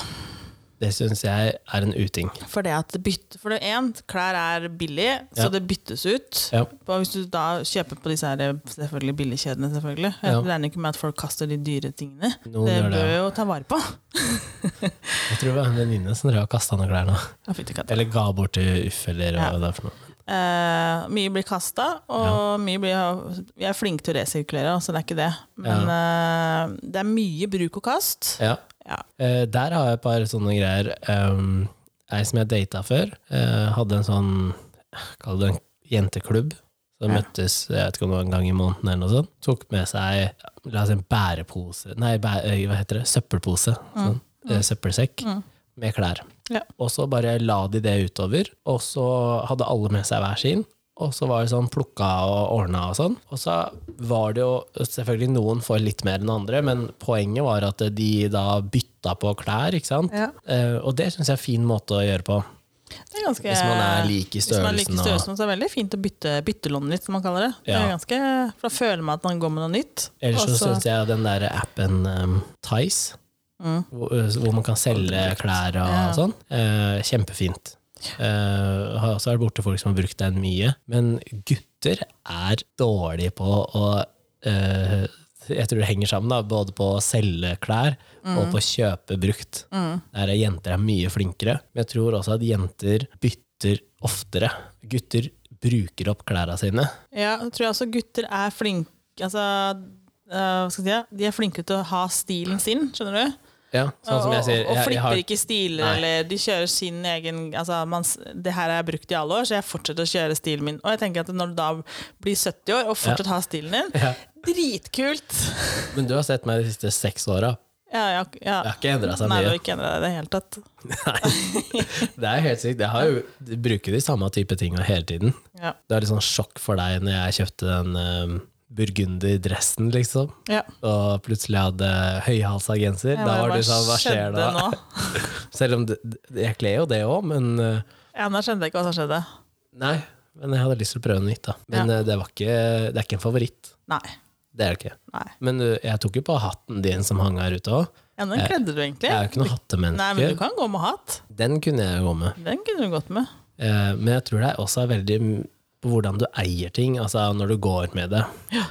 Speaker 1: Det syns jeg er en uting.
Speaker 2: For det at det bytte, for det en, klær er billig,
Speaker 1: Ja.
Speaker 2: så det byttes ut.
Speaker 1: Ja.
Speaker 2: Og hvis du da kjøper på disse her selvfølgelig billigkjedene, selvfølgelig. Jeg
Speaker 1: Ja.
Speaker 2: regner ikke med at folk kaster de dyre tingene.
Speaker 1: Noen
Speaker 2: det
Speaker 1: gjør det,
Speaker 2: bør
Speaker 1: ja.
Speaker 2: jo ta vare på.
Speaker 1: Jeg tror det var en venninne som drev og kasta noen klær nå.
Speaker 2: Jeg fikk ikke hatt det.
Speaker 1: Eller ga bort til Uff, eller
Speaker 2: Ja.
Speaker 1: hva det er for noe.
Speaker 2: Eh, mye blir kasta, og mye blir Vi er flinke til å resirkulere, så det er ikke det. Men eh, det er mye bruk og kast.
Speaker 1: Ja.
Speaker 2: Ja.
Speaker 1: Eh, der har jeg et par sånne greier. Um, ei som jeg data før, eh, hadde en sånn Kall det en jenteklubb. Så
Speaker 2: Ja.
Speaker 1: møttes jeg vet ikke om det var en gang i måneden, eller noe sånt. Tok med seg la oss si en bærepose Nei, bæ, eh, hva heter det? Søppelpose. Sånn, eh, Søppelsekk. Med klær.
Speaker 2: Mm. Ja.
Speaker 1: Og så bare la de det utover, og så hadde alle med seg hver sin. Og så var det sånn plukka og ordna og sånn. Og så var det jo selvfølgelig noen får litt mer enn andre, men poenget var at de da bytta på klær, ikke sant.
Speaker 2: Ja.
Speaker 1: Eh, og det syns jeg er en fin måte å gjøre på.
Speaker 2: Det er ganske,
Speaker 1: Hvis man er lik i
Speaker 2: Hvis man er lik i
Speaker 1: størrelsen. og,
Speaker 2: størrelsen, så er det veldig fint å bytte byttelånet litt, som man kaller det. det
Speaker 1: Ja.
Speaker 2: er ganske, for da føler man at man går med noe nytt.
Speaker 1: ellers så
Speaker 2: og så-
Speaker 1: syns jeg den der appen um, Tice,
Speaker 2: Mm.
Speaker 1: hvor, hvor man kan selge klær og
Speaker 2: Ja.
Speaker 1: sånn, eh, kjempefint. Eh, har også vært borte folk som har brukt den mye. Men gutter er dårlige på å eh, Jeg tror det henger sammen, da, både på å selge klær
Speaker 2: Mm.
Speaker 1: og på å kjøpe brukt. Der er jenter er mye flinkere. Men jeg tror også at jenter bytter oftere. Gutter bruker opp klærne sine.
Speaker 2: Ja, jeg tror også gutter er flinke altså, eh, hva skal jeg si, De er flinke til å ha stilen sin, skjønner du?
Speaker 1: Ja, sånn som
Speaker 2: og,
Speaker 1: jeg sier.
Speaker 2: og, og
Speaker 1: jeg- jeg
Speaker 2: flipper
Speaker 1: har-
Speaker 2: ikke stiler,
Speaker 1: Nei.
Speaker 2: eller de kjører sin egen altså, man, s- Det her har jeg brukt i alle år, så jeg fortsetter å kjøre stilen min. Og jeg tenker at når du da blir 70 år og fortsatt har stilen din,
Speaker 1: Ja.
Speaker 2: dritkult!
Speaker 1: Men du har sett meg de siste seks åra.
Speaker 2: Ja, ja, ja.
Speaker 1: Jeg har ikke endra seg
Speaker 2: Nei, du
Speaker 1: mye.
Speaker 2: har ikke endra deg i det hele tatt.
Speaker 1: Det er helt sykt. Jeg har jo, de bruker de samme type tinga hele tiden.
Speaker 2: Ja.
Speaker 1: Det var litt sånn sjokk for deg når jeg kjøpte den um, burgunderdressen, liksom.
Speaker 2: ja.
Speaker 1: Og plutselig hadde høyhalsa genser. Da var du sånn, hva skjer da?
Speaker 2: nå?
Speaker 1: Selv om det, det- jeg kler jo det òg, men uh,
Speaker 2: Ja, nå skjønte jeg ikke hva som skjedde.
Speaker 1: Nei. Men jeg hadde lyst til å prøve noe nytt, da. Men uh, det, var ikke, det er ikke en favoritt.
Speaker 2: Nei.
Speaker 1: Det er det ikke.
Speaker 2: nei.
Speaker 1: Men uh, jeg tok jo på hatten din som hang her ute òg.
Speaker 2: Ja, den kledde du egentlig.
Speaker 1: Jeg er jo ikke noe hattemenneske.
Speaker 2: Nei, men du kan gå med hatt.
Speaker 1: Den kunne jeg gå med.
Speaker 2: Den kunne du gått med.
Speaker 1: Eh, Men jeg tror det er også veldig m- på hvordan du eier ting, altså når du går med det.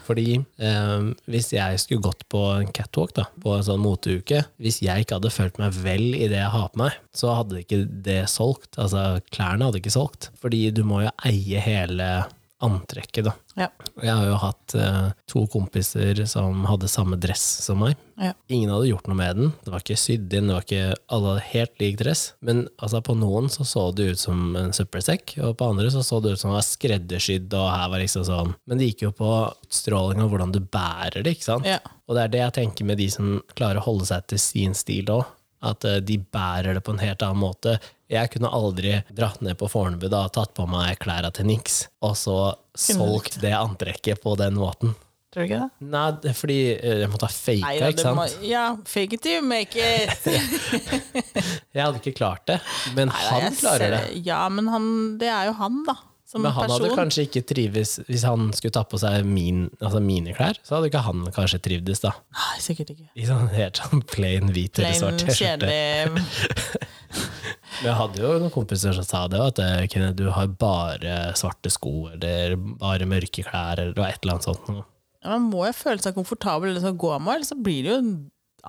Speaker 1: Fordi eh, hvis jeg skulle gått på en catwalk, da, på en sånn moteuke, hvis jeg ikke hadde følt meg vel i det jeg har på meg, så hadde ikke det solgt. Altså klærne hadde ikke solgt. Fordi du må jo eie hele antrekket, da.
Speaker 2: Ja.
Speaker 1: Jeg har jo hatt eh, to kompiser som hadde samme dress som meg.
Speaker 2: Ja.
Speaker 1: Ingen hadde gjort noe med den. Det var ikke sydd inn, det var ikke alle hadde helt lik dress. Men altså, på noen så så det ut som en søppelsekk, og på andre så så det ut som det var skreddersydd, og her var liksom sånn. Men det gikk jo på utstråling og hvordan du bærer det, ikke sant?
Speaker 2: Ja.
Speaker 1: Og det er det jeg tenker med de som klarer å holde seg til sin stil òg. At eh, de bærer det på en helt annen måte. Jeg kunne aldri dratt ned på Fornebu da og tatt på meg klærne til Nix, og så solgt det antrekket på den måten.
Speaker 2: Tror du ikke det?
Speaker 1: Nei, det er fordi eh, jeg måtte ha
Speaker 2: Nei,
Speaker 1: faka,
Speaker 2: da,
Speaker 1: ikke
Speaker 2: det må,
Speaker 1: sant?
Speaker 2: ja, fake it till you make it.
Speaker 1: Jeg hadde ikke klart det, men han klarer det.
Speaker 2: Ja, men han, det er jo han, da. Som
Speaker 1: Men han hadde
Speaker 2: person.
Speaker 1: kanskje ikke trives Hvis han skulle ta på seg min, altså mine klær, så hadde ikke han kanskje trivdes, da.
Speaker 2: Nei, sikkert ikke.
Speaker 1: I sånn helt sånn plain hvit eller
Speaker 2: Plain,
Speaker 1: svart T-skjorte.
Speaker 2: kjedelig
Speaker 1: Men Jeg hadde jo noen kompiser som sa det, at eh, Kenneth, du har bare svarte sko, eller bare mørke klær, eller et eller annet sånt. noe.
Speaker 2: Ja, Man må jo føle seg komfortabel i det som går med, ellers så blir det jo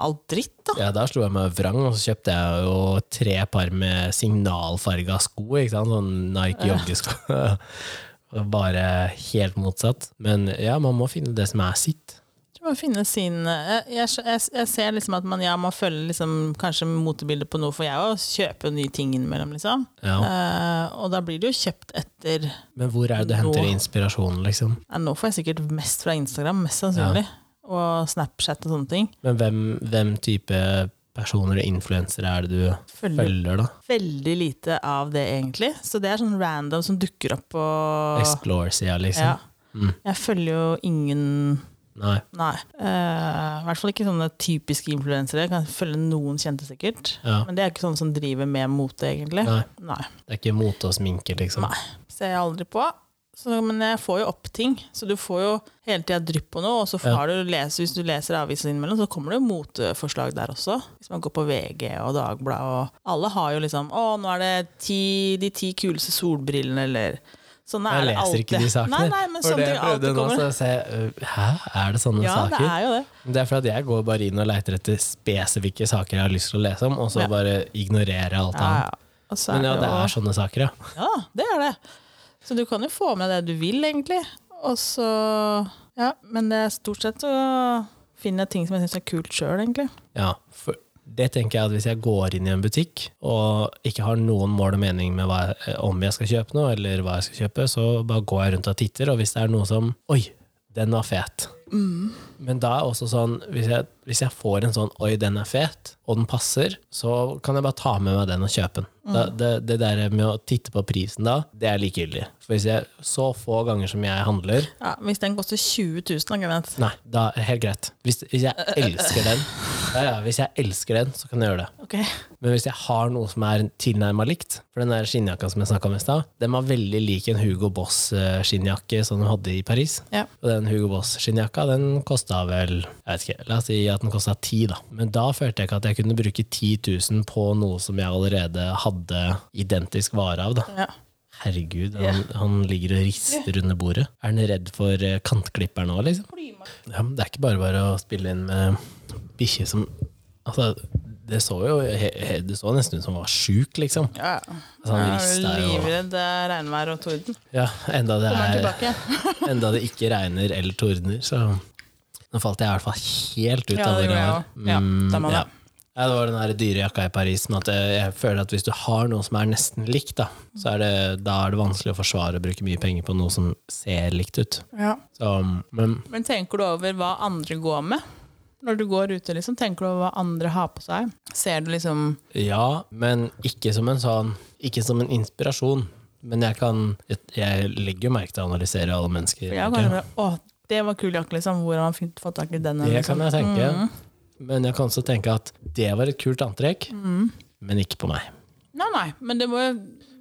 Speaker 2: alt dritt, da.
Speaker 1: Ja, Der slo jeg meg vrang, og så kjøpte jeg jo tre par med signalfarga sko, ikke sant? sånn Nike joggesko. Og bare helt motsatt. Men ja, man må finne det som er sitt.
Speaker 2: Jeg tror man finner sin jeg, jeg, jeg, jeg ser liksom at man, ja, man følger liksom kanskje motebildet på noe, for jeg òg kjøper jo nye ting innimellom, liksom.
Speaker 1: Ja.
Speaker 2: Eh, og da blir det jo kjøpt etter ja,
Speaker 1: Men hvor er det du henter inspirasjonen, liksom?
Speaker 2: Nå får jeg sikkert mest fra Instagram, mest sannsynlig. Og Snapchat og sånne ting.
Speaker 1: Men hvem, hvem type personer og influensere er det du
Speaker 2: Følger
Speaker 1: følger, da?
Speaker 2: veldig lite av det, egentlig. Så det er sånn random som dukker opp på
Speaker 1: Explore-sida,
Speaker 2: ja.
Speaker 1: liksom?
Speaker 2: Jeg følger jo ingen
Speaker 1: Nei.
Speaker 2: Nei. Eh, I hvert fall ikke sånne typiske influensere. Jeg kan følge noen kjente, sikkert.
Speaker 1: Ja.
Speaker 2: Men det er ikke sånne som driver med mote, egentlig.
Speaker 1: Nei.
Speaker 2: Nei.
Speaker 1: Det er ikke mote og sminke, liksom?
Speaker 2: Nei. Ser jeg aldri på. Så, men jeg får jo opp ting, så du får jo hele tida drypp på noe. Og så får du lese, hvis du leser avisen innimellom, så kommer det jo moteforslag der også. Hvis man går på VG og Dagbladet og Alle har jo liksom 'Å, nå er det ti, de ti kuleste solbrillene', eller Sånn er
Speaker 1: Jeg
Speaker 2: det
Speaker 1: leser
Speaker 2: alltid.
Speaker 1: ikke de sakene.
Speaker 2: Nei, nei, men
Speaker 1: For
Speaker 2: sånne
Speaker 1: det
Speaker 2: ting
Speaker 1: jeg prøvde
Speaker 2: alltid
Speaker 1: nå,
Speaker 2: kommer.
Speaker 1: så ser jeg, øh, Hæ, er det sånne
Speaker 2: Ja, det
Speaker 1: saker?
Speaker 2: er jo det.
Speaker 1: Det er fordi at jeg går bare inn og leter etter spesifikke saker jeg har lyst til å lese om, og så
Speaker 2: Ja.
Speaker 1: bare ignorerer jeg alt
Speaker 2: Ja,
Speaker 1: annet.
Speaker 2: ja. Og så
Speaker 1: Men ja, det
Speaker 2: jo-
Speaker 1: er sånne saker, ja.
Speaker 2: Ja, det er det. Så du kan jo få med deg det du vil, egentlig. Og så Ja, men det er stort sett så finner jeg ting som jeg syns er kult sjøl, egentlig.
Speaker 1: ja for det tenker jeg at hvis jeg går inn i en butikk og ikke har noen mål og mening med hva, om jeg skal kjøpe noe, eller hva jeg skal kjøpe, så bare går jeg rundt og titter, og hvis det er noe som Oi, den var fet. Men da er også sånn, hvis jeg, hvis jeg får en sånn 'oi, den er fet', og den passer, så kan jeg bare ta med meg den og kjøpe den. Da, det, det der med å titte på prisen da, det er likegyldig. For hvis jeg så få ganger som jeg handler
Speaker 2: Ja, hvis den koster 20 000, da, Kenneth.
Speaker 1: Nei, da er det helt greit. Hvis, hvis jeg elsker den, ja, ja, hvis jeg elsker den, så kan jeg gjøre det.
Speaker 2: Ok.
Speaker 1: Men hvis jeg har noe som er tilnærma likt For den der skinnjakka som jeg snakka om i stad, den var veldig lik en Hugo Boss-skinnjakke som hun hadde i Paris.
Speaker 2: Ja.
Speaker 1: Og den Hugo Boss-skinnjakka den kosta vel jeg vet ikke, La oss si at den kosta ti, da. Men da følte jeg ikke at jeg kunne bruke 10 000 på noe som jeg allerede hadde identisk vare av. da.
Speaker 2: ja.
Speaker 1: Herregud, han, han ligger og rister under bordet. Er han redd for eh, kantklipperen nå, liksom? Ja, men det er ikke bare bare å spille inn med bikkje som Altså, det så jo he, he, Det så nesten ut som han var sjuk, liksom.
Speaker 2: ja.
Speaker 1: Altså, han
Speaker 2: Jeg er
Speaker 1: rista jo
Speaker 2: Livredd eh, regnvær og torden.
Speaker 1: Ja, enda det
Speaker 2: Kommer den
Speaker 1: er
Speaker 2: tilbake?
Speaker 1: Enda det ikke regner eller tordner, så Nå falt jeg i hvert fall helt ut
Speaker 2: Ja,
Speaker 1: av
Speaker 2: det
Speaker 1: det.
Speaker 2: gjorde jeg
Speaker 1: greiene.
Speaker 2: også. Ja,
Speaker 1: Mm,
Speaker 2: da må
Speaker 1: ja.
Speaker 2: det.
Speaker 1: Ja, det var den der dyre jakka i Paris. Men at jeg, jeg føler at hvis du har noe som er nesten likt, da, så er det, da er det vanskelig å forsvare å bruke mye penger på noe som ser likt ut.
Speaker 2: Ja.
Speaker 1: Så, um, men
Speaker 2: Men tenker du over hva andre går med? Når du går ute, liksom, tenker du over hva andre har på seg? Ser du liksom
Speaker 1: Ja, men ikke som en sånn Ikke som en inspirasjon. Men jeg kan Jeg, jeg legger jo merke til å analysere alle mennesker.
Speaker 2: Ja,
Speaker 1: tenker
Speaker 2: kanskje bare, Å, det var kul jakke, liksom. Hvor har han fint fått tak i den?
Speaker 1: jeg. Det
Speaker 2: liksom.
Speaker 1: kan
Speaker 2: Mm.
Speaker 1: jeg tenke. Men jeg kan også tenke at det var et kult antrekk,
Speaker 2: Mm.
Speaker 1: men ikke på meg.
Speaker 2: Nei, nei, men det må jo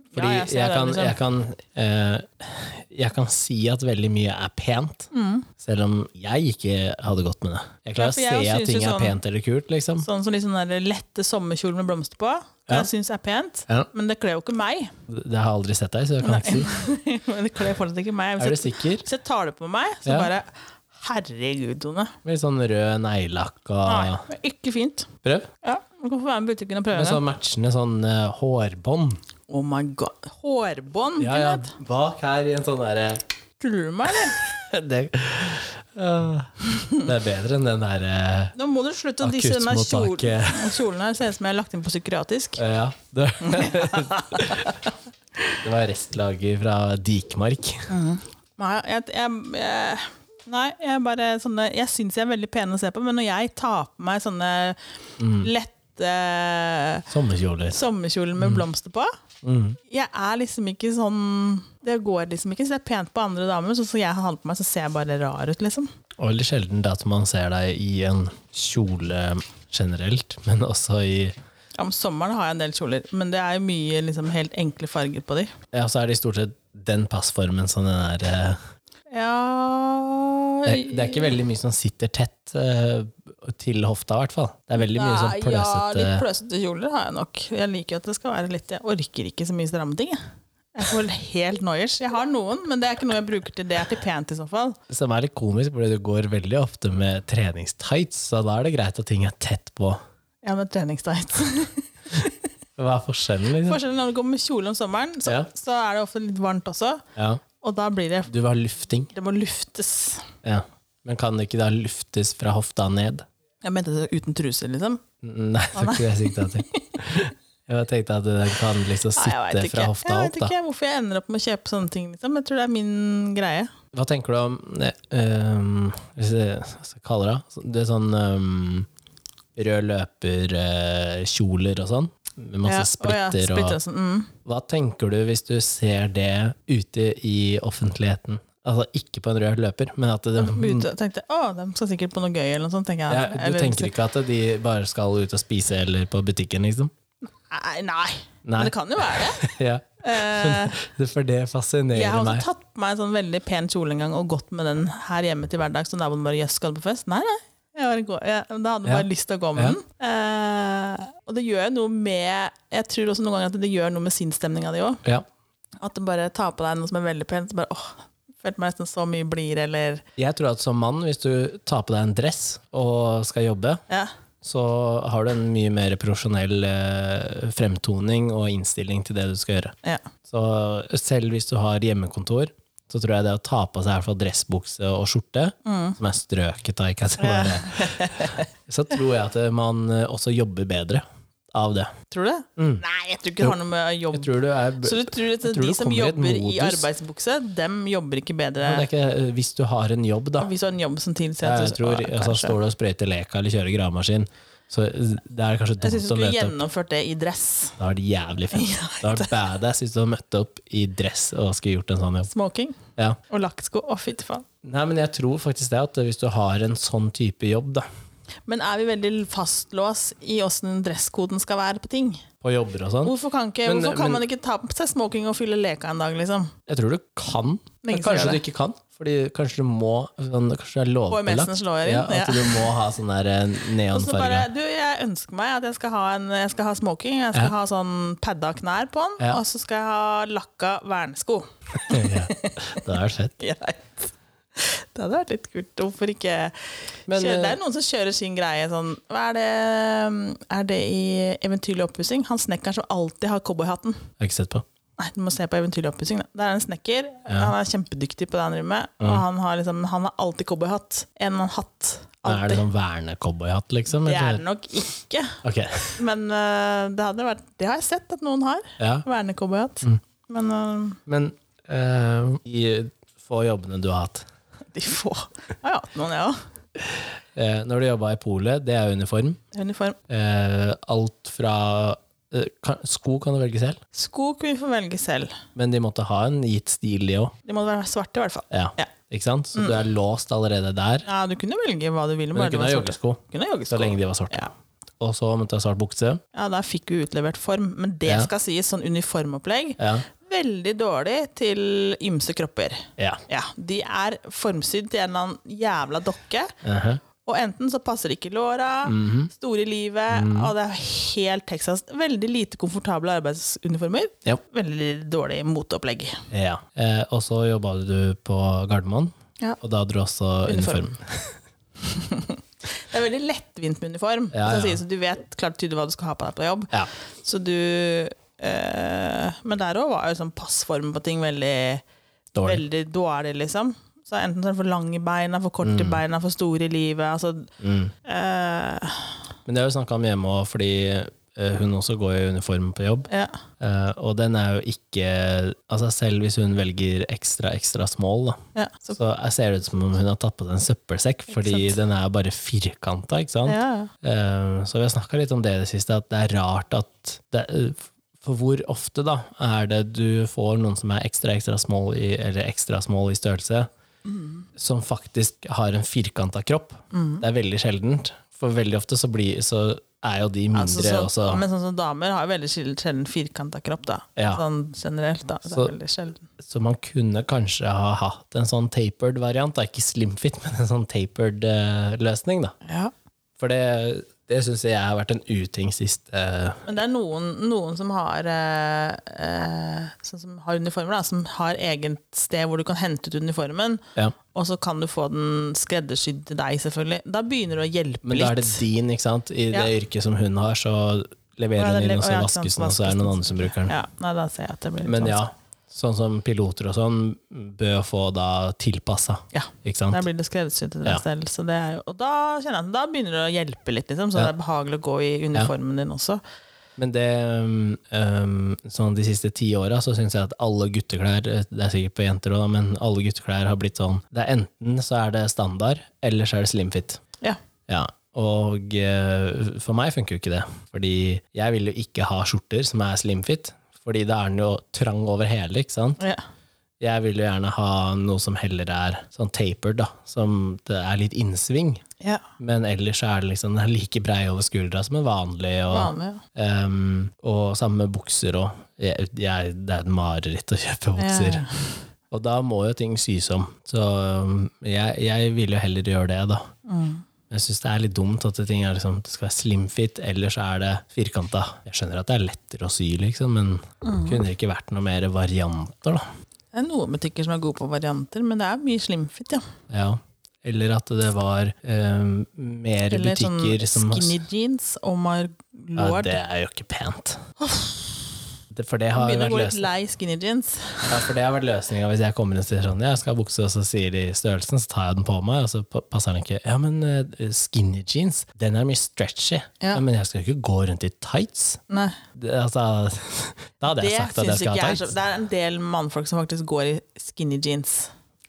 Speaker 1: Fordi
Speaker 2: Ja, jeg
Speaker 1: jeg,
Speaker 2: ser det,
Speaker 1: kan,
Speaker 2: liksom.
Speaker 1: jeg, kan, eh, jeg kan si at veldig mye er pent, selv om jeg ikke hadde gått med det. Jeg
Speaker 2: Mm. Ja,
Speaker 1: klarer
Speaker 2: for
Speaker 1: å
Speaker 2: jeg
Speaker 1: se
Speaker 2: synes
Speaker 1: at ting
Speaker 2: jo
Speaker 1: er
Speaker 2: sånn-
Speaker 1: pent eller kult, liksom.
Speaker 2: Sånn som litt sånn der lette sommerkjole med blomster på.
Speaker 1: Ja.
Speaker 2: Jeg syns er pent,
Speaker 1: Ja.
Speaker 2: men det kler jo ikke meg.
Speaker 1: Det har jeg aldri sett deg, så jeg kan ikke si.
Speaker 2: Men det kler fortsatt ikke meg.
Speaker 1: Er du
Speaker 2: Hvis jeg,
Speaker 1: sikker?
Speaker 2: hvis jeg tar det på meg, så
Speaker 1: Ja.
Speaker 2: bare Herregud, Tone.
Speaker 1: Med sånn rød neglelakk
Speaker 2: Nei,
Speaker 1: og
Speaker 2: det er ikke fint.
Speaker 1: Prøv.
Speaker 2: Ja, Du kan få være med i butikken og prøve
Speaker 1: Med
Speaker 2: det.
Speaker 1: sånn matchende sånn eh, hårbånd.
Speaker 2: Oh my god. Hårbånd!
Speaker 1: Ja, ja. Bak her i en sånn derre
Speaker 2: Tuller du med meg, eller?
Speaker 1: det, ja, det er bedre enn den der eh,
Speaker 2: Nå må du slutte å disse denne kjolen.
Speaker 1: Akuttmottaket.
Speaker 2: Kjolen her ser ut som jeg har lagt inn på psykiatrisk.
Speaker 1: Ja, det, det var restlaget fra Dikmark.
Speaker 2: Nei, jeg, jeg, jeg, nei, jeg bare sånne Jeg syns jeg er veldig pen å se på, men når jeg tar på meg sånne
Speaker 1: Mm.
Speaker 2: lette
Speaker 1: Sommerkjoler.
Speaker 2: sommerkjoler
Speaker 1: Mm.
Speaker 2: med blomster på Jeg er liksom ikke sånn Det går liksom ikke. Så det er pent på andre damer, så, så jeg har den på meg, så ser jeg bare rar ut, liksom.
Speaker 1: Og veldig sjelden det at man ser deg i en kjole generelt, men også i
Speaker 2: Ja, Om sommeren har jeg en del kjoler, men det er jo mye liksom, helt enkle farger på de.
Speaker 1: Ja, så er det i stort sett den passformen som den er eh,
Speaker 2: Ja
Speaker 1: det, er- det er ikke veldig mye som sitter tett eh, til hofta, i hvert fall. Det er veldig mye sånn
Speaker 2: Nei, Ja,
Speaker 1: pløsete
Speaker 2: litt pløsete kjoler har jeg nok. Jeg liker jo at det skal være litt Jeg orker ikke så mye stramme ting, jeg. Jeg får helt noiers. Jeg har noen, men det er ikke noe jeg bruker til det. Det er til pent i så fall.
Speaker 1: Som er litt komisk, fordi du går veldig ofte med treningstights, så da er det greit at ting er tett på.
Speaker 2: Ja, med treningstights.
Speaker 1: Hva er forskjellen, liksom?
Speaker 2: Forskjellen når du går med kjole om sommeren, så,
Speaker 1: Ja.
Speaker 2: så er det ofte litt varmt også.
Speaker 1: Ja,
Speaker 2: Og da blir det
Speaker 1: du vil ha lufting.
Speaker 2: Det må luftes.
Speaker 1: Ja. Men kan det ikke da luftes fra hofta ned?
Speaker 2: Jeg mente det uten truse, liksom.
Speaker 1: Nei, det var ikke det jeg sikta til. Jeg bare tenkte at den kan liksom
Speaker 2: Nei, jeg
Speaker 1: sitte
Speaker 2: vet ikke.
Speaker 1: fra hofta
Speaker 2: Jeg
Speaker 1: opp,
Speaker 2: vet
Speaker 1: da.
Speaker 2: ikke hvorfor jeg ender opp med å kjøpe sånne ting. Liksom. Jeg tror det er min greie.
Speaker 1: Hva tenker du om eh, ehm, Hvis jeg hva skal jeg kalle det så- Det er sånn ehm, rød løper-kjoler og sånn, med masse splitter
Speaker 2: og, ja, splitter og sånn. Mm.
Speaker 1: Hva tenker du hvis du ser det ute i offentligheten? Altså ikke på en rød løper, men at det,
Speaker 2: Ute, tenkte, jeg, å, de skal sikkert på noe gøy eller noe sånt. Tenker
Speaker 1: ja,
Speaker 2: jeg.
Speaker 1: Du
Speaker 2: Mhm. Eller-
Speaker 1: tenker ikke at de bare skal ut og spise eller på butikken, liksom?
Speaker 2: Nei, nei.
Speaker 1: Nei.
Speaker 2: Men det kan jo være det.
Speaker 1: Ja,
Speaker 2: Eh,
Speaker 1: det- For det
Speaker 2: jeg har
Speaker 1: fascinerer
Speaker 2: også
Speaker 1: meg.
Speaker 2: tatt på meg en sånn veldig pen kjole en gang og gått med den her hjemme til hverdags. Og da var den bare 'jøss, skal du på fest'? Nei, nei. Jeg bare går, jeg, da hadde jeg bare
Speaker 1: Ja.
Speaker 2: lyst til å gå med
Speaker 1: Ja.
Speaker 2: den. Eh, og det gjør jo noe med Jeg tror også noen ganger at det gjør noe med sinnsstemninga di òg.
Speaker 1: Ja.
Speaker 2: At du bare tar på deg noe som er veldig pent, så bare åh, følte meg nesten så mye blidere, eller
Speaker 1: Jeg tror at som mann, hvis du tar på deg en dress og skal jobbe,
Speaker 2: Ja.
Speaker 1: så har du en mye mer profesjonell eh, fremtoning og innstilling til det du skal gjøre.
Speaker 2: ja.
Speaker 1: Så eh, selv hvis du har hjemmekontor, så tror jeg det å ta på seg i hvert fall dressbukse og skjorte,
Speaker 2: Mm.
Speaker 1: som er strøket da, ikke at det bare, så tror jeg at man eh, også jobber bedre av det.
Speaker 2: Tror du det? Nei, jeg tror ikke det har noe med jobb
Speaker 1: Mm. Jeg tror du er...
Speaker 2: Så du tror at
Speaker 1: jeg tror
Speaker 2: de
Speaker 1: du
Speaker 2: som
Speaker 1: kommer i et
Speaker 2: jobber i
Speaker 1: modus.
Speaker 2: arbeidsbukse, dem jobber ikke bedre?
Speaker 1: Men det er ikke, eh, hvis du har en jobb da,
Speaker 2: Hvis du har en jobb som tilsier at
Speaker 1: jeg
Speaker 2: du
Speaker 1: tror,
Speaker 2: Å,
Speaker 1: altså,
Speaker 2: kanskje.
Speaker 1: står du og sprøyter leka eller kjører gravemaskin, så eh, det er kanskje dumt
Speaker 2: Jeg syns du
Speaker 1: å
Speaker 2: skulle
Speaker 1: møte opp.
Speaker 2: gjennomført det i dress.
Speaker 1: Da er det jævlig fett. Da er det badass hvis du hadde møtt opp i dress og skulle gjort en sånn jobb.
Speaker 2: Smoking
Speaker 1: Ja.
Speaker 2: og lakksko. Å, fytti faen.
Speaker 1: Nei, men jeg tror faktisk det at hvis du har en sånn type jobb, da,
Speaker 2: Men er vi veldig fastlåst i åssen dresskoden skal være på ting?
Speaker 1: på jobber og sånn,
Speaker 2: Hvorfor kan, ikke,
Speaker 1: Men-
Speaker 2: hvorfor
Speaker 1: men-
Speaker 2: kan man ikke ta på seg smoking og fylle leka en dag, liksom?
Speaker 1: jeg tror du kan, men
Speaker 2: Lenge siden
Speaker 1: kanskje
Speaker 2: jeg
Speaker 1: du ikke kan. Fordi kanskje du må sånn, Kanskje det er
Speaker 2: HMS-en
Speaker 1: lovpålagt
Speaker 2: slår inn,
Speaker 1: ja, at
Speaker 2: ja.
Speaker 1: du må ha sånn der eh,
Speaker 2: Og så bare
Speaker 1: neonfarge.
Speaker 2: Du, jeg ønsker meg at jeg skal ha, en, jeg skal ha smoking, jeg
Speaker 1: Ja.
Speaker 2: skal ha sånn padda knær på den,
Speaker 1: Ja.
Speaker 2: og så skal jeg ha lakka vernesko.
Speaker 1: ja. Det er fett.
Speaker 2: Greit. Det hadde vært litt kult. Hvorfor ikke
Speaker 1: Men,
Speaker 2: kjøre? Det
Speaker 1: eh,
Speaker 2: er noen som kjører sin greie sånn hva Er det, mm, er det i Eventyrlig oppussing? Han snekkeren som alltid har cowboyhatten.
Speaker 1: eh, Har ikke sett på.
Speaker 2: Nei, du må se på Eventyrlig oppussing. da. Der er en snekker. Han er kjempedyktig på det han driver med. Og han har, liksom, han har alltid cowboyhatt. En eller annen hatt.
Speaker 1: Er det
Speaker 2: Alltid.
Speaker 1: sånn vernecowboyhatt, liksom?
Speaker 2: Det er
Speaker 1: Eller?
Speaker 2: det nok ikke,
Speaker 1: Ok.
Speaker 2: men øh, det, hadde vært, det har jeg sett at noen har.
Speaker 1: Ja.
Speaker 2: Vernecowboyhatt.
Speaker 1: Mm.
Speaker 2: Men øh,
Speaker 1: Men eh, i få jobbene du har hatt
Speaker 2: de få Jeg har hatt noen, jeg òg.
Speaker 1: eh, Når du jobba i polet, det er uniform.
Speaker 2: Uniform.
Speaker 1: Eh, alt fra eh, kan, Sko kan du velge selv,
Speaker 2: Sko kunne vi få velge selv.
Speaker 1: men de måtte ha en gitt stil, de òg.
Speaker 2: De må være svarte, i hvert fall.
Speaker 1: Ja.
Speaker 2: Ja. Mm.
Speaker 1: Ikke sant? Så du er låst allerede der.
Speaker 2: Ja, du kunne velge hva du ville.
Speaker 1: Men
Speaker 2: Bare
Speaker 1: du kunne
Speaker 2: det var
Speaker 1: ha
Speaker 2: svarte.
Speaker 1: joggesko,
Speaker 2: Du kunne ha joggesko.
Speaker 1: så lenge de var svarte.
Speaker 2: Ja.
Speaker 1: Og så måtte du ha svart bukse.
Speaker 2: ja, der fikk vi utlevert form. Men det
Speaker 1: Ja.
Speaker 2: skal sies, sånn uniformopplegg,
Speaker 1: Ja.
Speaker 2: veldig dårlig til ymse kropper.
Speaker 1: ja.
Speaker 2: Ja, de er formsydd til en eller annen jævla dokke.
Speaker 1: Mhm.
Speaker 2: Og enten så passer det ikke i låra, store i livet,
Speaker 1: Mhm.
Speaker 2: og det er helt Texas. Veldig lite komfortable arbeidsuniformer.
Speaker 1: Ja.
Speaker 2: Veldig dårlig moteopplegg.
Speaker 1: ja. Eh, og så jobba du på Gardermoen,
Speaker 2: Ja.
Speaker 1: og da hadde du også uniform.
Speaker 2: Uniform. Det er veldig lettvint med uniform.
Speaker 1: Ja,
Speaker 2: Så
Speaker 1: ja.
Speaker 2: sies det, sånn. du vet klart tydelig hva du skal ha på deg på jobb.
Speaker 1: Ja.
Speaker 2: Så du eh, Men der òg var jo sånn passform på ting veldig
Speaker 1: Dårlig.
Speaker 2: veldig dårlig, liksom. Så enten så er det for lange beina, for korte
Speaker 1: Mm.
Speaker 2: beina, for store i livet. Altså, eh,
Speaker 1: Men det har vi snakka om hjemme òg, fordi eh, hun også går i uniform på jobb.
Speaker 2: ja.
Speaker 1: Eh, og den er jo ikke Altså Selv hvis hun velger ekstra, ekstra small, da,
Speaker 2: Ja, så,
Speaker 1: så, ser det ut som om hun har tatt på seg en søppelsekk, fordi
Speaker 2: sant?
Speaker 1: den er bare firkanta. Ikke sant?
Speaker 2: ja, ja.
Speaker 1: Eh, så vi har snakka litt om det i det siste, at det er rart at det, eh, For hvor ofte da er det du får noen som er ekstra, ekstra small i, eller ekstra small i størrelse, som faktisk har en firkanta kropp?
Speaker 2: Mm.
Speaker 1: Det er veldig sjeldent. For veldig ofte så, blir, så Mm, er jo de mindre
Speaker 2: Altså, så,
Speaker 1: også.
Speaker 2: Men sånn som damer har jo veldig sjel- sjelden firkanta kropp, da.
Speaker 1: Ja.
Speaker 2: Sånn generelt, da. Det er
Speaker 1: Så-
Speaker 2: veldig sjelden.
Speaker 1: Så man kunne kanskje ha hatt en sånn tapered variant, da. ikke slimfit, men en sånn tapered eh, løsning. da.
Speaker 2: Ja.
Speaker 1: For det, det syns jeg har vært en uting sist. eh,
Speaker 2: Men det er noen, noen som har eh, eh, Sånn som har uniformer, da, som har eget sted hvor du kan hente ut uniformen,
Speaker 1: ja.
Speaker 2: og så kan du få den skreddersydd til deg, selvfølgelig. Da begynner det å hjelpe
Speaker 1: Men
Speaker 2: litt.
Speaker 1: da er det din, ikke sant? I
Speaker 2: Ja.
Speaker 1: det yrket som hun har, så
Speaker 2: Ja,
Speaker 1: leverer
Speaker 2: det
Speaker 1: hun
Speaker 2: er-
Speaker 1: inn, og
Speaker 2: å,
Speaker 1: så
Speaker 2: ja, ikke sant,
Speaker 1: vaskes den, og så altså, er det noen andre som bruker den.
Speaker 2: Ja, nei, da ser jeg at det blir litt
Speaker 1: Men ja,
Speaker 2: vanskelig.
Speaker 1: sånn som piloter og sånn bør få da tilpassa,
Speaker 2: Ja.
Speaker 1: ikke
Speaker 2: Der
Speaker 1: sant?
Speaker 2: blir det skreddersydd til deg
Speaker 1: Ja.
Speaker 2: selv. Så det er jo, og da kjenner jeg at da begynner det å hjelpe litt, liksom, så
Speaker 1: Ja.
Speaker 2: det er behagelig å gå i uniformen din også.
Speaker 1: Men det um, um, sånn de siste ti åra så syns jeg at alle gutteklær, eh, det er sikkert på jenter òg, men alle gutteklær har blitt sånn det er Enten så er det standard, eller så er det slimfit.
Speaker 2: Ja.
Speaker 1: Ja, og eh, for meg funker jo ikke det. Fordi jeg vil jo ikke ha skjorter som er slimfit, fordi da er den jo trang over hele, ikke sant?
Speaker 2: ja.
Speaker 1: Jeg vil jo gjerne ha noe som heller er sånn tapered, da, som det er litt innsving.
Speaker 2: ja.
Speaker 1: Men ellers er det liksom den er like brei over skuldra som en vanlig. Og,
Speaker 2: Vanlig, ja.
Speaker 1: ehm, og samme med bukser òg. Jeg, jeg, det er et mareritt å kjøpe bukser.
Speaker 2: Ja.
Speaker 1: Og da må jo ting sys om. Så um, jeg, jeg vil jo heller gjøre det, da.
Speaker 2: Mm.
Speaker 1: Jeg syns det er litt dumt at det, ting er liksom, det skal være slimfit, eller så er det firkanta. Jeg skjønner at det er lettere å sy, liksom, men
Speaker 2: Mhm.
Speaker 1: kunne det ikke vært noe mer varianter, da?
Speaker 2: Det er noen butikker som er gode på varianter, men det er mye slimfit, ja.
Speaker 1: Ja. Eller at det var um, mer
Speaker 2: Eller sånn
Speaker 1: butikker som
Speaker 2: skinny jeans. Oh my
Speaker 1: Ja,
Speaker 2: lord.
Speaker 1: det er jo ikke pent. Det, for det
Speaker 2: Jeg
Speaker 1: har jo
Speaker 2: Begynner
Speaker 1: vært
Speaker 2: å gå litt
Speaker 1: løsningen.
Speaker 2: lei skinny jeans.
Speaker 1: Ja, for det har vært løsninga hvis jeg kommer inn og sier sånn Jeg skal ha bukse, og så sier de størrelsen, så tar jeg den på meg, og så pa- passer den ikke. Ja, men eh, skinny jeans, den er mye stretchy.
Speaker 2: Ja.
Speaker 1: Ja. men jeg skal jo ikke gå rundt i tights.
Speaker 2: Nei,
Speaker 1: Det, altså, da hadde
Speaker 2: det
Speaker 1: jeg sagt at jeg
Speaker 2: synes ikke
Speaker 1: skal ha
Speaker 2: jeg er så
Speaker 1: tights.
Speaker 2: Det er en del mannfolk som faktisk går i skinny jeans.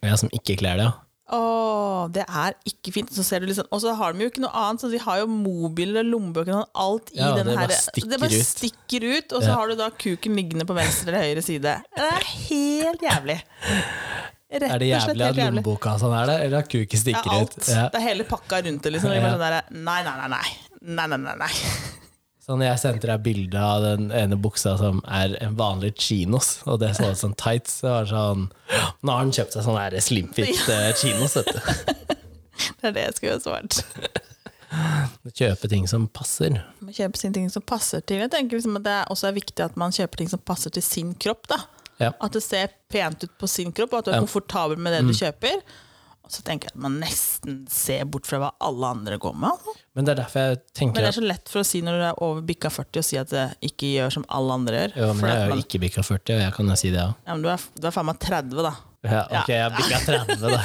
Speaker 1: Jeg som ikke kler det, ja.
Speaker 2: Åh, det er ikke fint. Så ser du liksom, og så har de jo ikke noe annet, så de har jo mobiler, lommebøker og alt i
Speaker 1: Ja,
Speaker 2: den
Speaker 1: det bare
Speaker 2: her
Speaker 1: stikker
Speaker 2: Det bare
Speaker 1: ut.
Speaker 2: stikker ut, og
Speaker 1: Ja.
Speaker 2: så har du da kuken liggende på venstre eller høyre side. Det er helt jævlig. Rett
Speaker 1: Er det
Speaker 2: og slett
Speaker 1: jævlig at
Speaker 2: helt jævlig.
Speaker 1: lommeboka sånn er der, eller at kuken
Speaker 2: Det
Speaker 1: stikker
Speaker 2: er alt.
Speaker 1: ut? Ja.
Speaker 2: Det er hele pakka rundt det. liksom. Det er bare sånn der, nei, nei, nei, nei. Nei, nei, nei, nei.
Speaker 1: Sånn, jeg sendte deg bilde av den ene buksa som er en vanlig chinos, og det så ut som tights. Det var sånn, Nå har han kjøpt seg sånn her slimfit eh, chinos, vet du.
Speaker 2: Det er det jeg skulle ha svart.
Speaker 1: Kjøpe ting som passer.
Speaker 2: Man kjøper sine ting som passer til. Jeg tenker liksom at Det er også er viktig at man kjøper ting som passer til sin kropp. da.
Speaker 1: Ja.
Speaker 2: At det ser pent ut på sin kropp, og at du er komfortabel med
Speaker 1: Mm.
Speaker 2: det du kjøper. Og så tenker jeg at man nesten ser bort fra hva alle andre går med. altså.
Speaker 1: Men det er derfor jeg
Speaker 2: Men
Speaker 1: tenker
Speaker 2: det
Speaker 1: at
Speaker 2: er så lett for å si når du er over bikka 40, å si at jeg ikke gjør som alle andre gjør.
Speaker 1: jo, men
Speaker 2: For
Speaker 1: jeg
Speaker 2: at
Speaker 1: er jo
Speaker 2: man,
Speaker 1: ikke bikka 40, og jeg kan jo si det òg.
Speaker 2: ja, men du, er, du er faen meg 30, da.
Speaker 1: Ja, ok, jeg er bikka 30, da.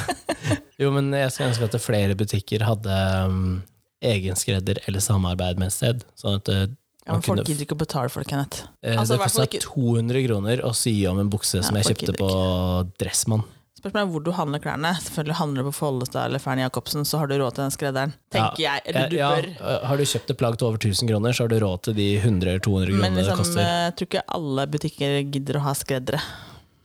Speaker 1: Jo, men jeg skulle ønske at flere butikker hadde um, egenskredder eller samarbeid med et sted. Sånn at uh,
Speaker 2: Ja, men
Speaker 1: man
Speaker 2: folk
Speaker 1: kunne
Speaker 2: gidder ikke å betale for det, Kenneth.
Speaker 1: Eh,
Speaker 2: Altså, i
Speaker 1: det
Speaker 2: hvert fall
Speaker 1: kosta
Speaker 2: ikke-
Speaker 1: 200 kroner å sy om en bukse som jeg
Speaker 2: folk
Speaker 1: kjøpte
Speaker 2: gidder
Speaker 1: på Dressmann.
Speaker 2: Spørsmålet er hvor du handler klærne. Selvfølgelig Handler du på Follestad eller Fern Jacobsen, så har du råd til den skredderen. Tenker jeg. Eller du
Speaker 1: Ja,
Speaker 2: bør.
Speaker 1: ja, Har du kjøpt et plagg til over 1000 kroner, så har du råd til de 100 eller 200
Speaker 2: Men
Speaker 1: kronene det
Speaker 2: liksom, eh,
Speaker 1: koster.
Speaker 2: jeg tror ikke alle butikker gidder å ha skreddere.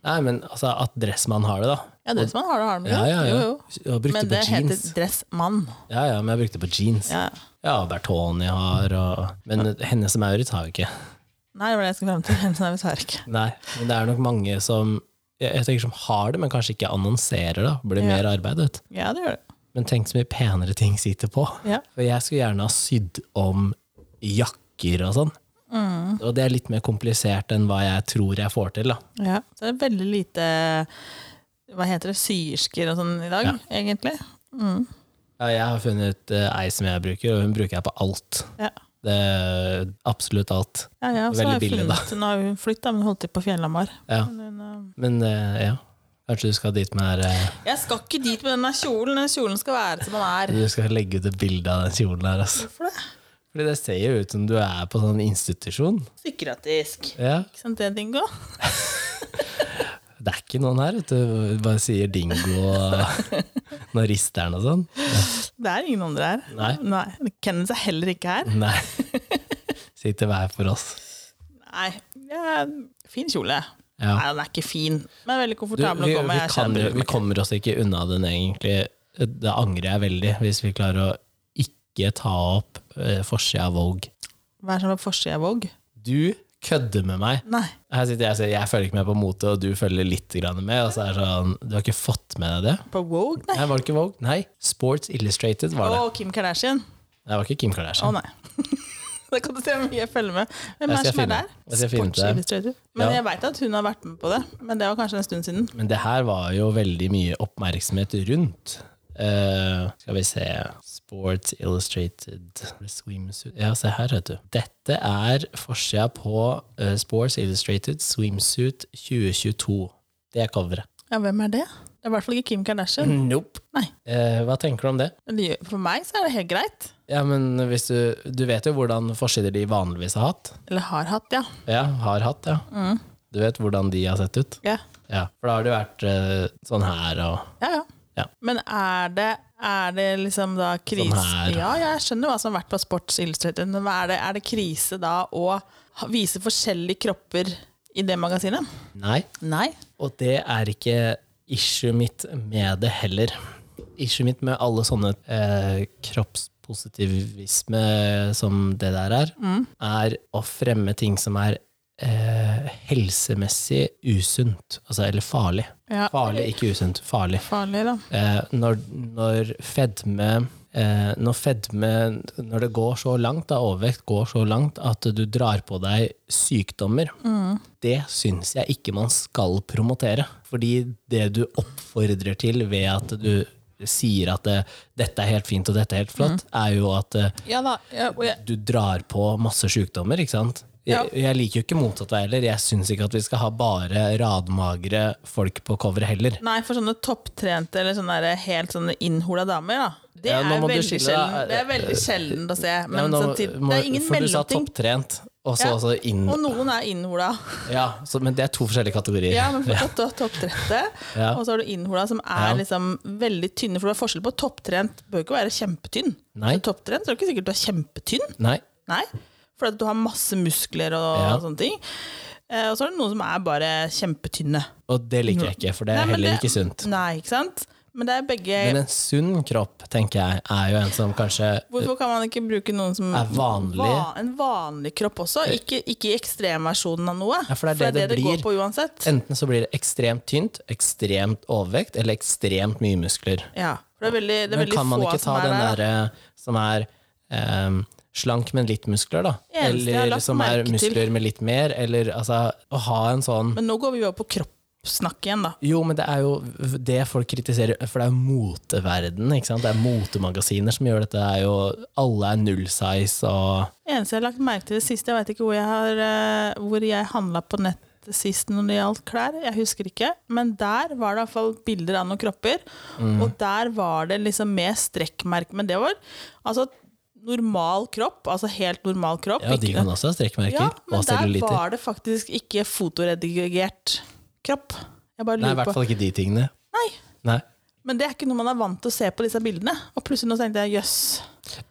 Speaker 1: Nei, men altså, at Dressmann har det, da.
Speaker 2: Ja, dressmann har du, har du
Speaker 1: Ja, ja, ja.
Speaker 2: Jo, jo.
Speaker 1: Og brukte
Speaker 2: Men
Speaker 1: på
Speaker 2: det heter
Speaker 1: jeans.
Speaker 2: dressmann.
Speaker 1: Ja, ja, men jeg brukte på jeans. Ja,
Speaker 2: Ja.
Speaker 1: Bertoni har og Men Hennes og Maurits har jo ikke.
Speaker 2: Nei, det var det jeg skulle frem til. Nei, vi tar ikke.
Speaker 1: Nei, men det er nok mange som jeg jeg tenker som har det, men kanskje ikke annonserer. da Blir mer arbeid. vet du.
Speaker 2: Ja, det gjør du.
Speaker 1: Men tenk så mye penere ting sitter på.
Speaker 2: Ja.
Speaker 1: For jeg skulle gjerne ha sydd om jakker og sånn. Og det er litt mer komplisert enn hva jeg tror jeg får til. da
Speaker 2: ja. Så det er veldig lite hva heter det, syersker og sånn i dag,
Speaker 1: Ja.
Speaker 2: egentlig.
Speaker 1: Ja, jeg har funnet eh, ei som jeg bruker, og hun bruker jeg på alt.
Speaker 2: Ja.
Speaker 1: Det, absolutt alt.
Speaker 2: Ja, ja, og så
Speaker 1: Veldig
Speaker 2: har jeg
Speaker 1: billig,
Speaker 2: funnet, Nå har hun flytta, men holdt til på Fjellhamar.
Speaker 1: Ja.
Speaker 2: Men, eh,
Speaker 1: Men eh, ja. Kanskje du skal dit med der,
Speaker 2: Jeg skal ikke dit med denne kjolen. Den kjolen skal være som den er.
Speaker 1: eh, Du skal legge ut et bilde av den kjolen her, altså.
Speaker 2: Hvorfor det?
Speaker 1: Fordi det ser jo ut som du er på sånn institusjon.
Speaker 2: Psykiatrisk.
Speaker 1: Ja.
Speaker 2: Ikke sant det, Dingo?
Speaker 1: Det er ikke noen her, vet du. Du Bare sier dingo og Nå rister han og sånn.
Speaker 2: Det er ingen andre her.
Speaker 1: Nei.
Speaker 2: Kenneth er heller ikke her.
Speaker 1: Nei. Sitter hver for oss.
Speaker 2: Nei, det er en fin kjole.
Speaker 1: Ja.
Speaker 2: Nei, den er ikke fin, men veldig
Speaker 1: Du,
Speaker 2: komfortabel
Speaker 1: vi,
Speaker 2: å gå med.
Speaker 1: vi,
Speaker 2: Jeg
Speaker 1: kan,
Speaker 2: kjenner
Speaker 1: jo- vi kommer oss ikke unna den, egentlig. Det angrer jeg veldig, hvis vi klarer å ikke ta opp eh, forsida av Vogue.
Speaker 2: Hva er det som er forsida av Vogue?
Speaker 1: Du kødder med meg!
Speaker 2: Nei.
Speaker 1: Her sitter jeg og sier jeg følger ikke med på mote, og du følger litt grann med. Og så er det sånn, du har ikke fått med deg det?
Speaker 2: På Vogue? Nei.
Speaker 1: Nei, var det ikke Vogue? Nei. Sports Illustrated var det.
Speaker 2: Og Kim Kardashian?
Speaker 1: Det var ikke Kim
Speaker 2: Å
Speaker 1: Kardashian.
Speaker 2: nei. det kan du se hvor mye jeg følger med.
Speaker 1: Jeg
Speaker 2: Hvem er det
Speaker 1: skal
Speaker 2: som er
Speaker 1: finne.
Speaker 2: der?
Speaker 1: Jeg skal finne
Speaker 2: Sports
Speaker 1: det.
Speaker 2: Illustrated. Men
Speaker 1: Ja.
Speaker 2: jeg veit at hun har vært med på det. Men det var kanskje en stund siden.
Speaker 1: Men det her var jo veldig mye oppmerksomhet rundt. Eh, skal vi se Sports Illustrated swimsuit Ja, se her, vet du. Dette er forsida på eh, Sports Illustrated Swimsuit 2022. Det er coveret.
Speaker 2: Ja, hvem er det? Mm. Det er i hvert fall ikke Kim Kardashian.
Speaker 1: Nope.
Speaker 2: Nei.
Speaker 1: Eh, hva tenker du om det?
Speaker 2: Men det gjør- For meg så er det helt greit.
Speaker 1: Ja, men hvis du, du vet jo hvordan forsider de vanligvis har hatt.
Speaker 2: Eller har hatt, ja.
Speaker 1: Ja, har hatt, ja. Du vet hvordan de har sett ut?
Speaker 2: Ja,
Speaker 1: Ja, For da har det vært eh, sånn her og
Speaker 2: ja. ja.
Speaker 1: Ja.
Speaker 2: Men er det, er det liksom da krise
Speaker 1: Sånn her.
Speaker 2: Ja, jeg skjønner hva som har vært på Sports Illustrated, men hva er det, er det krise da å ha- vise forskjellige kropper i det magasinet?
Speaker 1: Nei.
Speaker 2: Nei.
Speaker 1: Og det er ikke issue mitt med det heller. Issue mitt med alle sånne eh, kroppspositivisme som det der er, er å fremme ting som er eh, helsemessig usunt. Altså, eller farlig.
Speaker 2: Ja.
Speaker 1: Farlig, ikke usunt. Farlig.
Speaker 2: Farlig, da.
Speaker 1: Eh, når, når fedme eh, når fedme Når det går så langt, da, overvekt går så langt at du drar på deg sykdommer, det syns jeg ikke man skal promotere. Fordi det du oppfordrer til ved at du sier at eh, dette er helt fint og dette er helt flott, er jo at eh,
Speaker 2: Ja da. Ja, og jeg,
Speaker 1: du drar på masse sykdommer, ikke sant? Jeg, jeg liker jo ikke motsatt vei heller. Jeg syns ikke at vi skal ha bare radmagre folk på coveret heller.
Speaker 2: nei, for sånne topptrente eller sånne der, helt sånne innhola damer, da. Det,
Speaker 1: Ja, nå
Speaker 2: er
Speaker 1: må du
Speaker 2: veldig
Speaker 1: skille
Speaker 2: sjelden,
Speaker 1: deg.
Speaker 2: det er veldig sjelden å se. Men
Speaker 1: Ja, nå
Speaker 2: samtidig,
Speaker 1: må-
Speaker 2: det er ingen
Speaker 1: For du sa
Speaker 2: mellomting.
Speaker 1: topptrent, og så
Speaker 2: Ja.
Speaker 1: også inn...
Speaker 2: Og noen er innhola.
Speaker 1: Ja, så, men det er to forskjellige kategorier.
Speaker 2: Ja, men fortsatt to- topptrente.
Speaker 1: Ja.
Speaker 2: Og så har du innhola, som er
Speaker 1: Ja.
Speaker 2: liksom veldig tynne. For det er forskjell på topptrent. Bør ikke være kjempetynn.
Speaker 1: Nei.
Speaker 2: Så Topptrent så er det ikke sikkert du er kjempetynn.
Speaker 1: Nei,
Speaker 2: Nei. For at du har masse muskler og,
Speaker 1: Ja.
Speaker 2: sånne ting. Eh, og så er det noen som er bare kjempetynne.
Speaker 1: og det liker jeg ikke, for det er
Speaker 2: Nei, men
Speaker 1: heller
Speaker 2: det-
Speaker 1: ikke sunt.
Speaker 2: Nei, ikke sant? Men det er begge
Speaker 1: Men en sunn kropp, tenker jeg, er jo en som kanskje
Speaker 2: Hvorfor kan man ikke bruke noen som
Speaker 1: Er vanlig. Eh.
Speaker 2: Va, en vanlig kropp også? Ikke, ikke ekstremversjonen av noe.
Speaker 1: Ja, for det er det det
Speaker 2: går
Speaker 1: blir. Eh.
Speaker 2: på uansett.
Speaker 1: Enten så blir det ekstremt tynt, ekstremt overvekt, eller ekstremt mye muskler.
Speaker 2: Ja, for det er veldig, det er
Speaker 1: Men
Speaker 2: veldig
Speaker 1: kan man
Speaker 2: få
Speaker 1: ikke ta
Speaker 2: som er
Speaker 1: den
Speaker 2: der.
Speaker 1: derre som er ehm, slank, men litt muskler, da?
Speaker 2: Eneste jeg har
Speaker 1: Eller
Speaker 2: lagt
Speaker 1: som er
Speaker 2: merke til-
Speaker 1: muskler med litt mer, eller altså Å ha en sånn
Speaker 2: Men nå går vi over på kroppssnakk igjen, da.
Speaker 1: Jo, men det er jo det folk kritiserer, for det er jo moteverden, ikke sant? Det er motemagasiner som gjør dette, det er jo Alle er null size og
Speaker 2: Det eneste jeg har lagt merke til det siste, jeg veit ikke hvor jeg, har, eh, hvor jeg handla på nett sist når det gjaldt klær, jeg husker ikke, men der var det iallfall bilder av noen kropper,
Speaker 1: Mm.
Speaker 2: og der var det liksom med strekkmerke, men det var altså normal kropp, altså helt normal kropp.
Speaker 1: Ja, de
Speaker 2: ikke-
Speaker 1: kan også ha strekkmerker
Speaker 2: ja, men
Speaker 1: og
Speaker 2: der
Speaker 1: cellulitter.
Speaker 2: var det faktisk ikke fotoredigert kropp. Jeg bare
Speaker 1: Nei, i
Speaker 2: lurer
Speaker 1: hvert
Speaker 2: på.
Speaker 1: fall ikke de tingene.
Speaker 2: Nei,
Speaker 1: Nei.
Speaker 2: men det er ikke noe man er vant til å se på disse bildene, og plutselig nå tenkte jeg jøss.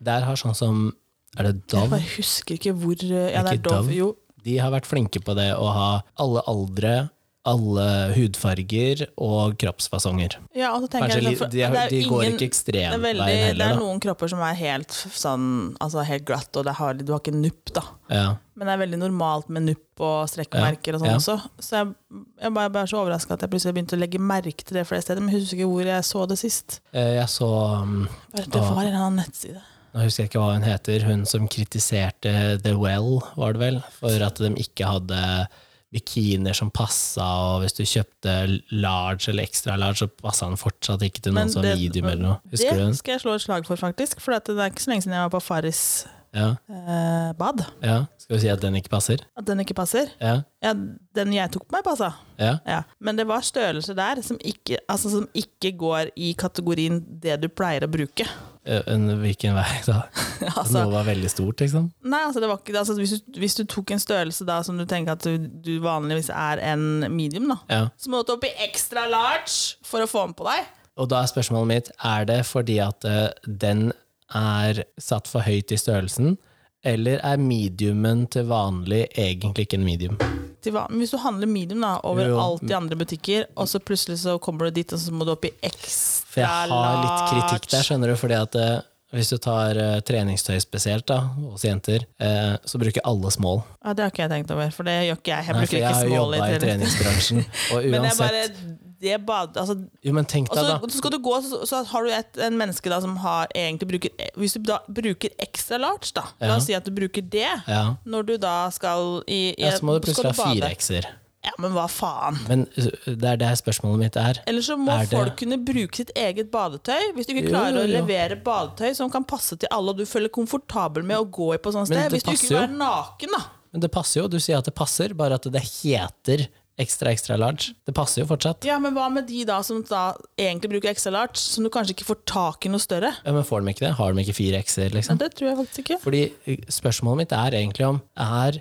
Speaker 1: Der har sånn som Er det
Speaker 2: Jeg
Speaker 1: Dove?
Speaker 2: bare husker ikke hvor eh, Ja,
Speaker 1: Ikke
Speaker 2: det er Dove.
Speaker 1: Dove?
Speaker 2: Jo,
Speaker 1: De har vært flinke på det å ha alle aldre, alle hudfarger og kroppsfasonger.
Speaker 2: Ja, og så tenker
Speaker 1: Kanskje
Speaker 2: jeg
Speaker 1: li-
Speaker 2: liksom, for-
Speaker 1: de,
Speaker 2: det er jo
Speaker 1: de går
Speaker 2: ingen-
Speaker 1: ikke
Speaker 2: det er
Speaker 1: ekstremveien
Speaker 2: veldig- Det er
Speaker 1: heller,
Speaker 2: noen kropper som er helt f- sånn, altså helt glatt, og det har, du har ikke nupp, da.
Speaker 1: da. Ja.
Speaker 2: Men det er veldig normalt med nupp og strekkmerker og sånn
Speaker 1: Ja, ja.
Speaker 2: også. Så jeg, jeg bare, bare er så overraska at jeg plutselig begynte å legge merke til det flere steder, men jeg husker ikke hvor jeg så det sist.
Speaker 1: Eh, Jeg så um,
Speaker 2: Bare, Det var en eller annen nettside.
Speaker 1: Nå husker jeg ikke hva hun heter, hun som kritiserte The Well, var det vel, for at de ikke hadde bikiner som passa, og hvis du kjøpte large eller extra large, så passa den fortsatt ikke til
Speaker 2: Men
Speaker 1: noen som
Speaker 2: det-
Speaker 1: medium eller noe. Husker du
Speaker 2: Det
Speaker 1: hun?
Speaker 2: skal jeg slå et slag for, faktisk, for at det er ikke så lenge siden jeg var på Farris
Speaker 1: Ja,
Speaker 2: eh, bad.
Speaker 1: ja. Skal vi si at den ikke passer?
Speaker 2: At den ikke passer.
Speaker 1: Ja,
Speaker 2: Ja, den jeg tok på meg, passa.
Speaker 1: ja.
Speaker 2: Ja. Men det var størrelser der som ikke, altså, som ikke går i kategorien det du pleier å bruke.
Speaker 1: Eh, en- Hvilken vei da?
Speaker 2: altså,
Speaker 1: Noe var veldig stort, liksom?
Speaker 2: nei, altså, det var ikke, altså, hvis, du, hvis du tok en størrelse da, som du tenker at du, du vanligvis er en medium, da,
Speaker 1: Ja.
Speaker 2: så må du opp i extra large for å få den på deg.
Speaker 1: Og da er spørsmålet mitt, er det fordi at eh, den er satt for høyt i størrelsen, eller er mediumen til vanlig egentlig ikke en medium?
Speaker 2: Til hva- Hvis du handler medium da, over
Speaker 1: Jo, jo.
Speaker 2: alt i andre butikker, og så plutselig så kommer du dit, og så må du opp i
Speaker 1: For
Speaker 2: extra
Speaker 1: jeg har litt kritikk der, skjønner du, fordi at eh, hvis du tar eh, treningstøy spesielt da, hos jenter, eh, så bruker alle small.
Speaker 2: Ja, det har ikke jeg tenkt over, for det gjør ikke jeg. Jeg
Speaker 1: Nei,
Speaker 2: bruker
Speaker 1: for jeg har
Speaker 2: ikke small i
Speaker 1: jobba i
Speaker 2: trening.
Speaker 1: treningsbransjen, og
Speaker 2: Men jeg
Speaker 1: uansett
Speaker 2: bare, det er bare altså,
Speaker 1: Jo, men tenk
Speaker 2: og
Speaker 1: deg,
Speaker 2: så,
Speaker 1: da.
Speaker 2: så skal du gå, så, så har du et en menneske da, som har, egentlig bruker Hvis du da bruker extra large, da, la
Speaker 1: Ja.
Speaker 2: oss si at du bruker det,
Speaker 1: Ja.
Speaker 2: når du da skal i, i
Speaker 1: ja, så må du
Speaker 2: skal
Speaker 1: plutselig ha
Speaker 2: bade.
Speaker 1: fire x-er.
Speaker 2: Ja, men hva faen?
Speaker 1: Men eh, det er der spørsmålet mitt er.
Speaker 2: Eller så må
Speaker 1: Er det-
Speaker 2: folk kunne bruke sitt eget badetøy. Hvis du ikke
Speaker 1: Jo,
Speaker 2: klarer
Speaker 1: jo,
Speaker 2: å
Speaker 1: jo.
Speaker 2: levere badetøy som kan passe til alle, og du føler komfortabel med å gå i på sånt sted.
Speaker 1: det
Speaker 2: Hvis du
Speaker 1: passer
Speaker 2: ikke vil være naken, da.
Speaker 1: Men det passer jo, du sier at det passer, bare at det heter ekstra, ekstra large. Det passer jo fortsatt.
Speaker 2: Ja, Men hva med de da som da egentlig bruker extra large, som du kanskje ikke får tak i noe større?
Speaker 1: Ja, men får de ikke det? Har de ikke fire x-er,
Speaker 2: Ja,
Speaker 1: liksom?
Speaker 2: det tror jeg faktisk ikke.
Speaker 1: Fordi eh, spørsmålet mitt er egentlig om er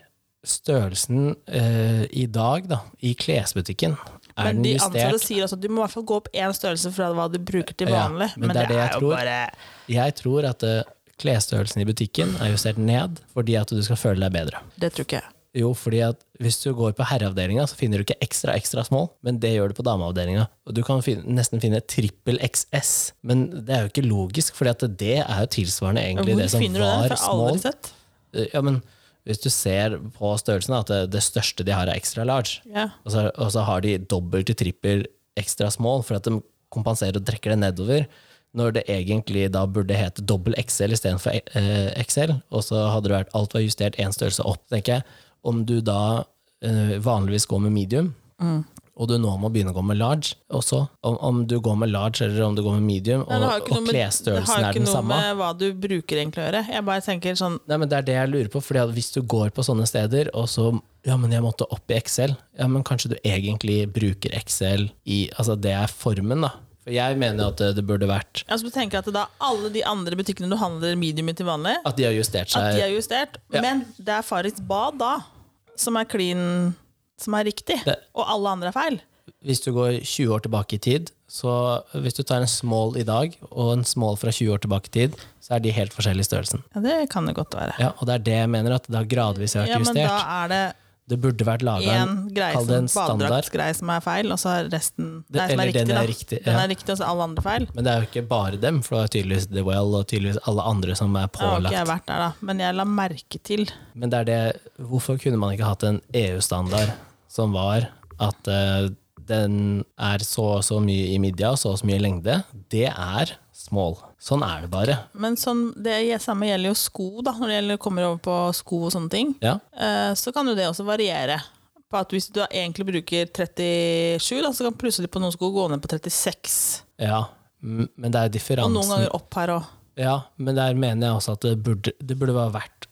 Speaker 1: størrelsen eh, i dag da, i klesbutikken er
Speaker 2: Men
Speaker 1: den
Speaker 2: de ansatte
Speaker 1: justert?
Speaker 2: sier også at du må i hvert fall gå opp én størrelse fra hva du bruker til
Speaker 1: Ja,
Speaker 2: vanlig.
Speaker 1: men
Speaker 2: men,
Speaker 1: det er
Speaker 2: det,
Speaker 1: det
Speaker 2: er,
Speaker 1: jeg
Speaker 2: jo
Speaker 1: tror.
Speaker 2: bare
Speaker 1: Jeg tror at eh, klesstørrelsen i butikken er justert ned fordi at du skal føle deg bedre.
Speaker 2: Det tror ikke jeg.
Speaker 1: Jo, fordi at hvis du går på herreavdelinga, så finner du ikke ekstra ekstra small, men det gjør du på dameavdelinga. Og du kan finne, nesten finne trippel XS, men det er jo ikke logisk, fordi at det er jo tilsvarende egentlig
Speaker 2: Hvor
Speaker 1: det som
Speaker 2: finner du den? For
Speaker 1: var
Speaker 2: jeg har aldri
Speaker 1: small. Eh,
Speaker 2: sett.
Speaker 1: Ja, men hvis du ser på størrelsen, da, at eh, det, det største de har er extra large,
Speaker 2: Ja.
Speaker 1: og så, og så har de dobbelt til trippel ekstra small for at de kompenserer og trekker det nedover. Når det egentlig da burde hete dobbel XL istedenfor eh, XL, og så hadde det vært alt var justert én størrelse opp, tenker jeg. Om du da eh, vanligvis går med medium,
Speaker 2: Mm.
Speaker 1: og du nå må begynne å gå med large også, om, om du går med large eller om du går med medium,
Speaker 2: Nei,
Speaker 1: og,
Speaker 2: det har jo ikke noe
Speaker 1: og
Speaker 2: med- Det har
Speaker 1: klesstørrelsen
Speaker 2: jo
Speaker 1: er
Speaker 2: ikke
Speaker 1: den
Speaker 2: noe
Speaker 1: samme.
Speaker 2: med hva du bruker egentlig å gjøre. Jeg bare tenker sånn
Speaker 1: Nei, men Det er det jeg lurer på. Fordi at Hvis du går på sånne steder, og så Ja, men jeg måtte opp i Excel. Ja, men kanskje du egentlig bruker Excel i Altså, det er formen, da. For jeg mener jo at det, det burde vært
Speaker 2: Altså, du tenker at da alle de andre butikkene du handler medium i til vanlig,
Speaker 1: At de har justert
Speaker 2: at de
Speaker 1: seg.
Speaker 2: er justert,
Speaker 1: Ja.
Speaker 2: men det er Farits bad da som er clean, som er riktig,
Speaker 1: Det-
Speaker 2: og alle andre er feil.
Speaker 1: Hvis du går 20 år tilbake i tid, så hvis du tar en small i dag og en small fra 20 år tilbake i tid, så er de helt forskjellig i størrelsen.
Speaker 2: Ja, det kan det godt være.
Speaker 1: Ja, Og det er det jeg mener, at det har gradvis vært
Speaker 2: Ja, men da
Speaker 1: justert.
Speaker 2: er det
Speaker 1: Det burde vært laga en
Speaker 2: én greie
Speaker 1: Kall det en
Speaker 2: som
Speaker 1: standard.
Speaker 2: badedraktsgreie som er feil, og så er resten
Speaker 1: Det-
Speaker 2: Nei, som
Speaker 1: eller
Speaker 2: er riktig,
Speaker 1: den
Speaker 2: da.
Speaker 1: er riktig,
Speaker 2: Den
Speaker 1: ja.
Speaker 2: er riktig, og så er alle andre feil.
Speaker 1: Men det er jo ikke bare dem, for det er tydeligvis The Well og tydeligvis alle andre som er
Speaker 2: Jeg har
Speaker 1: pålagt
Speaker 2: ikke jeg vært der, da, men jeg la merke til.
Speaker 1: Men det er det Hvorfor kunne man ikke hatt en EU-standard som var at eh, den er så og så mye i midja og så og så mye i lengde? Det er small. Sånn er det bare.
Speaker 2: Men sånn, det samme gjelder jo sko, da, når det gjelder, kommer over på sko og sånne ting.
Speaker 1: Ja.
Speaker 2: Eh, så kan jo det også variere. På at hvis du da egentlig bruker 37, da, så kan plutselig på noen sko gå ned på 36.
Speaker 1: ja. M- Men det er
Speaker 2: Og noen
Speaker 1: differansen
Speaker 2: ganger opp her òg.
Speaker 1: Ja, men der mener jeg også at det burde, det burde være verdt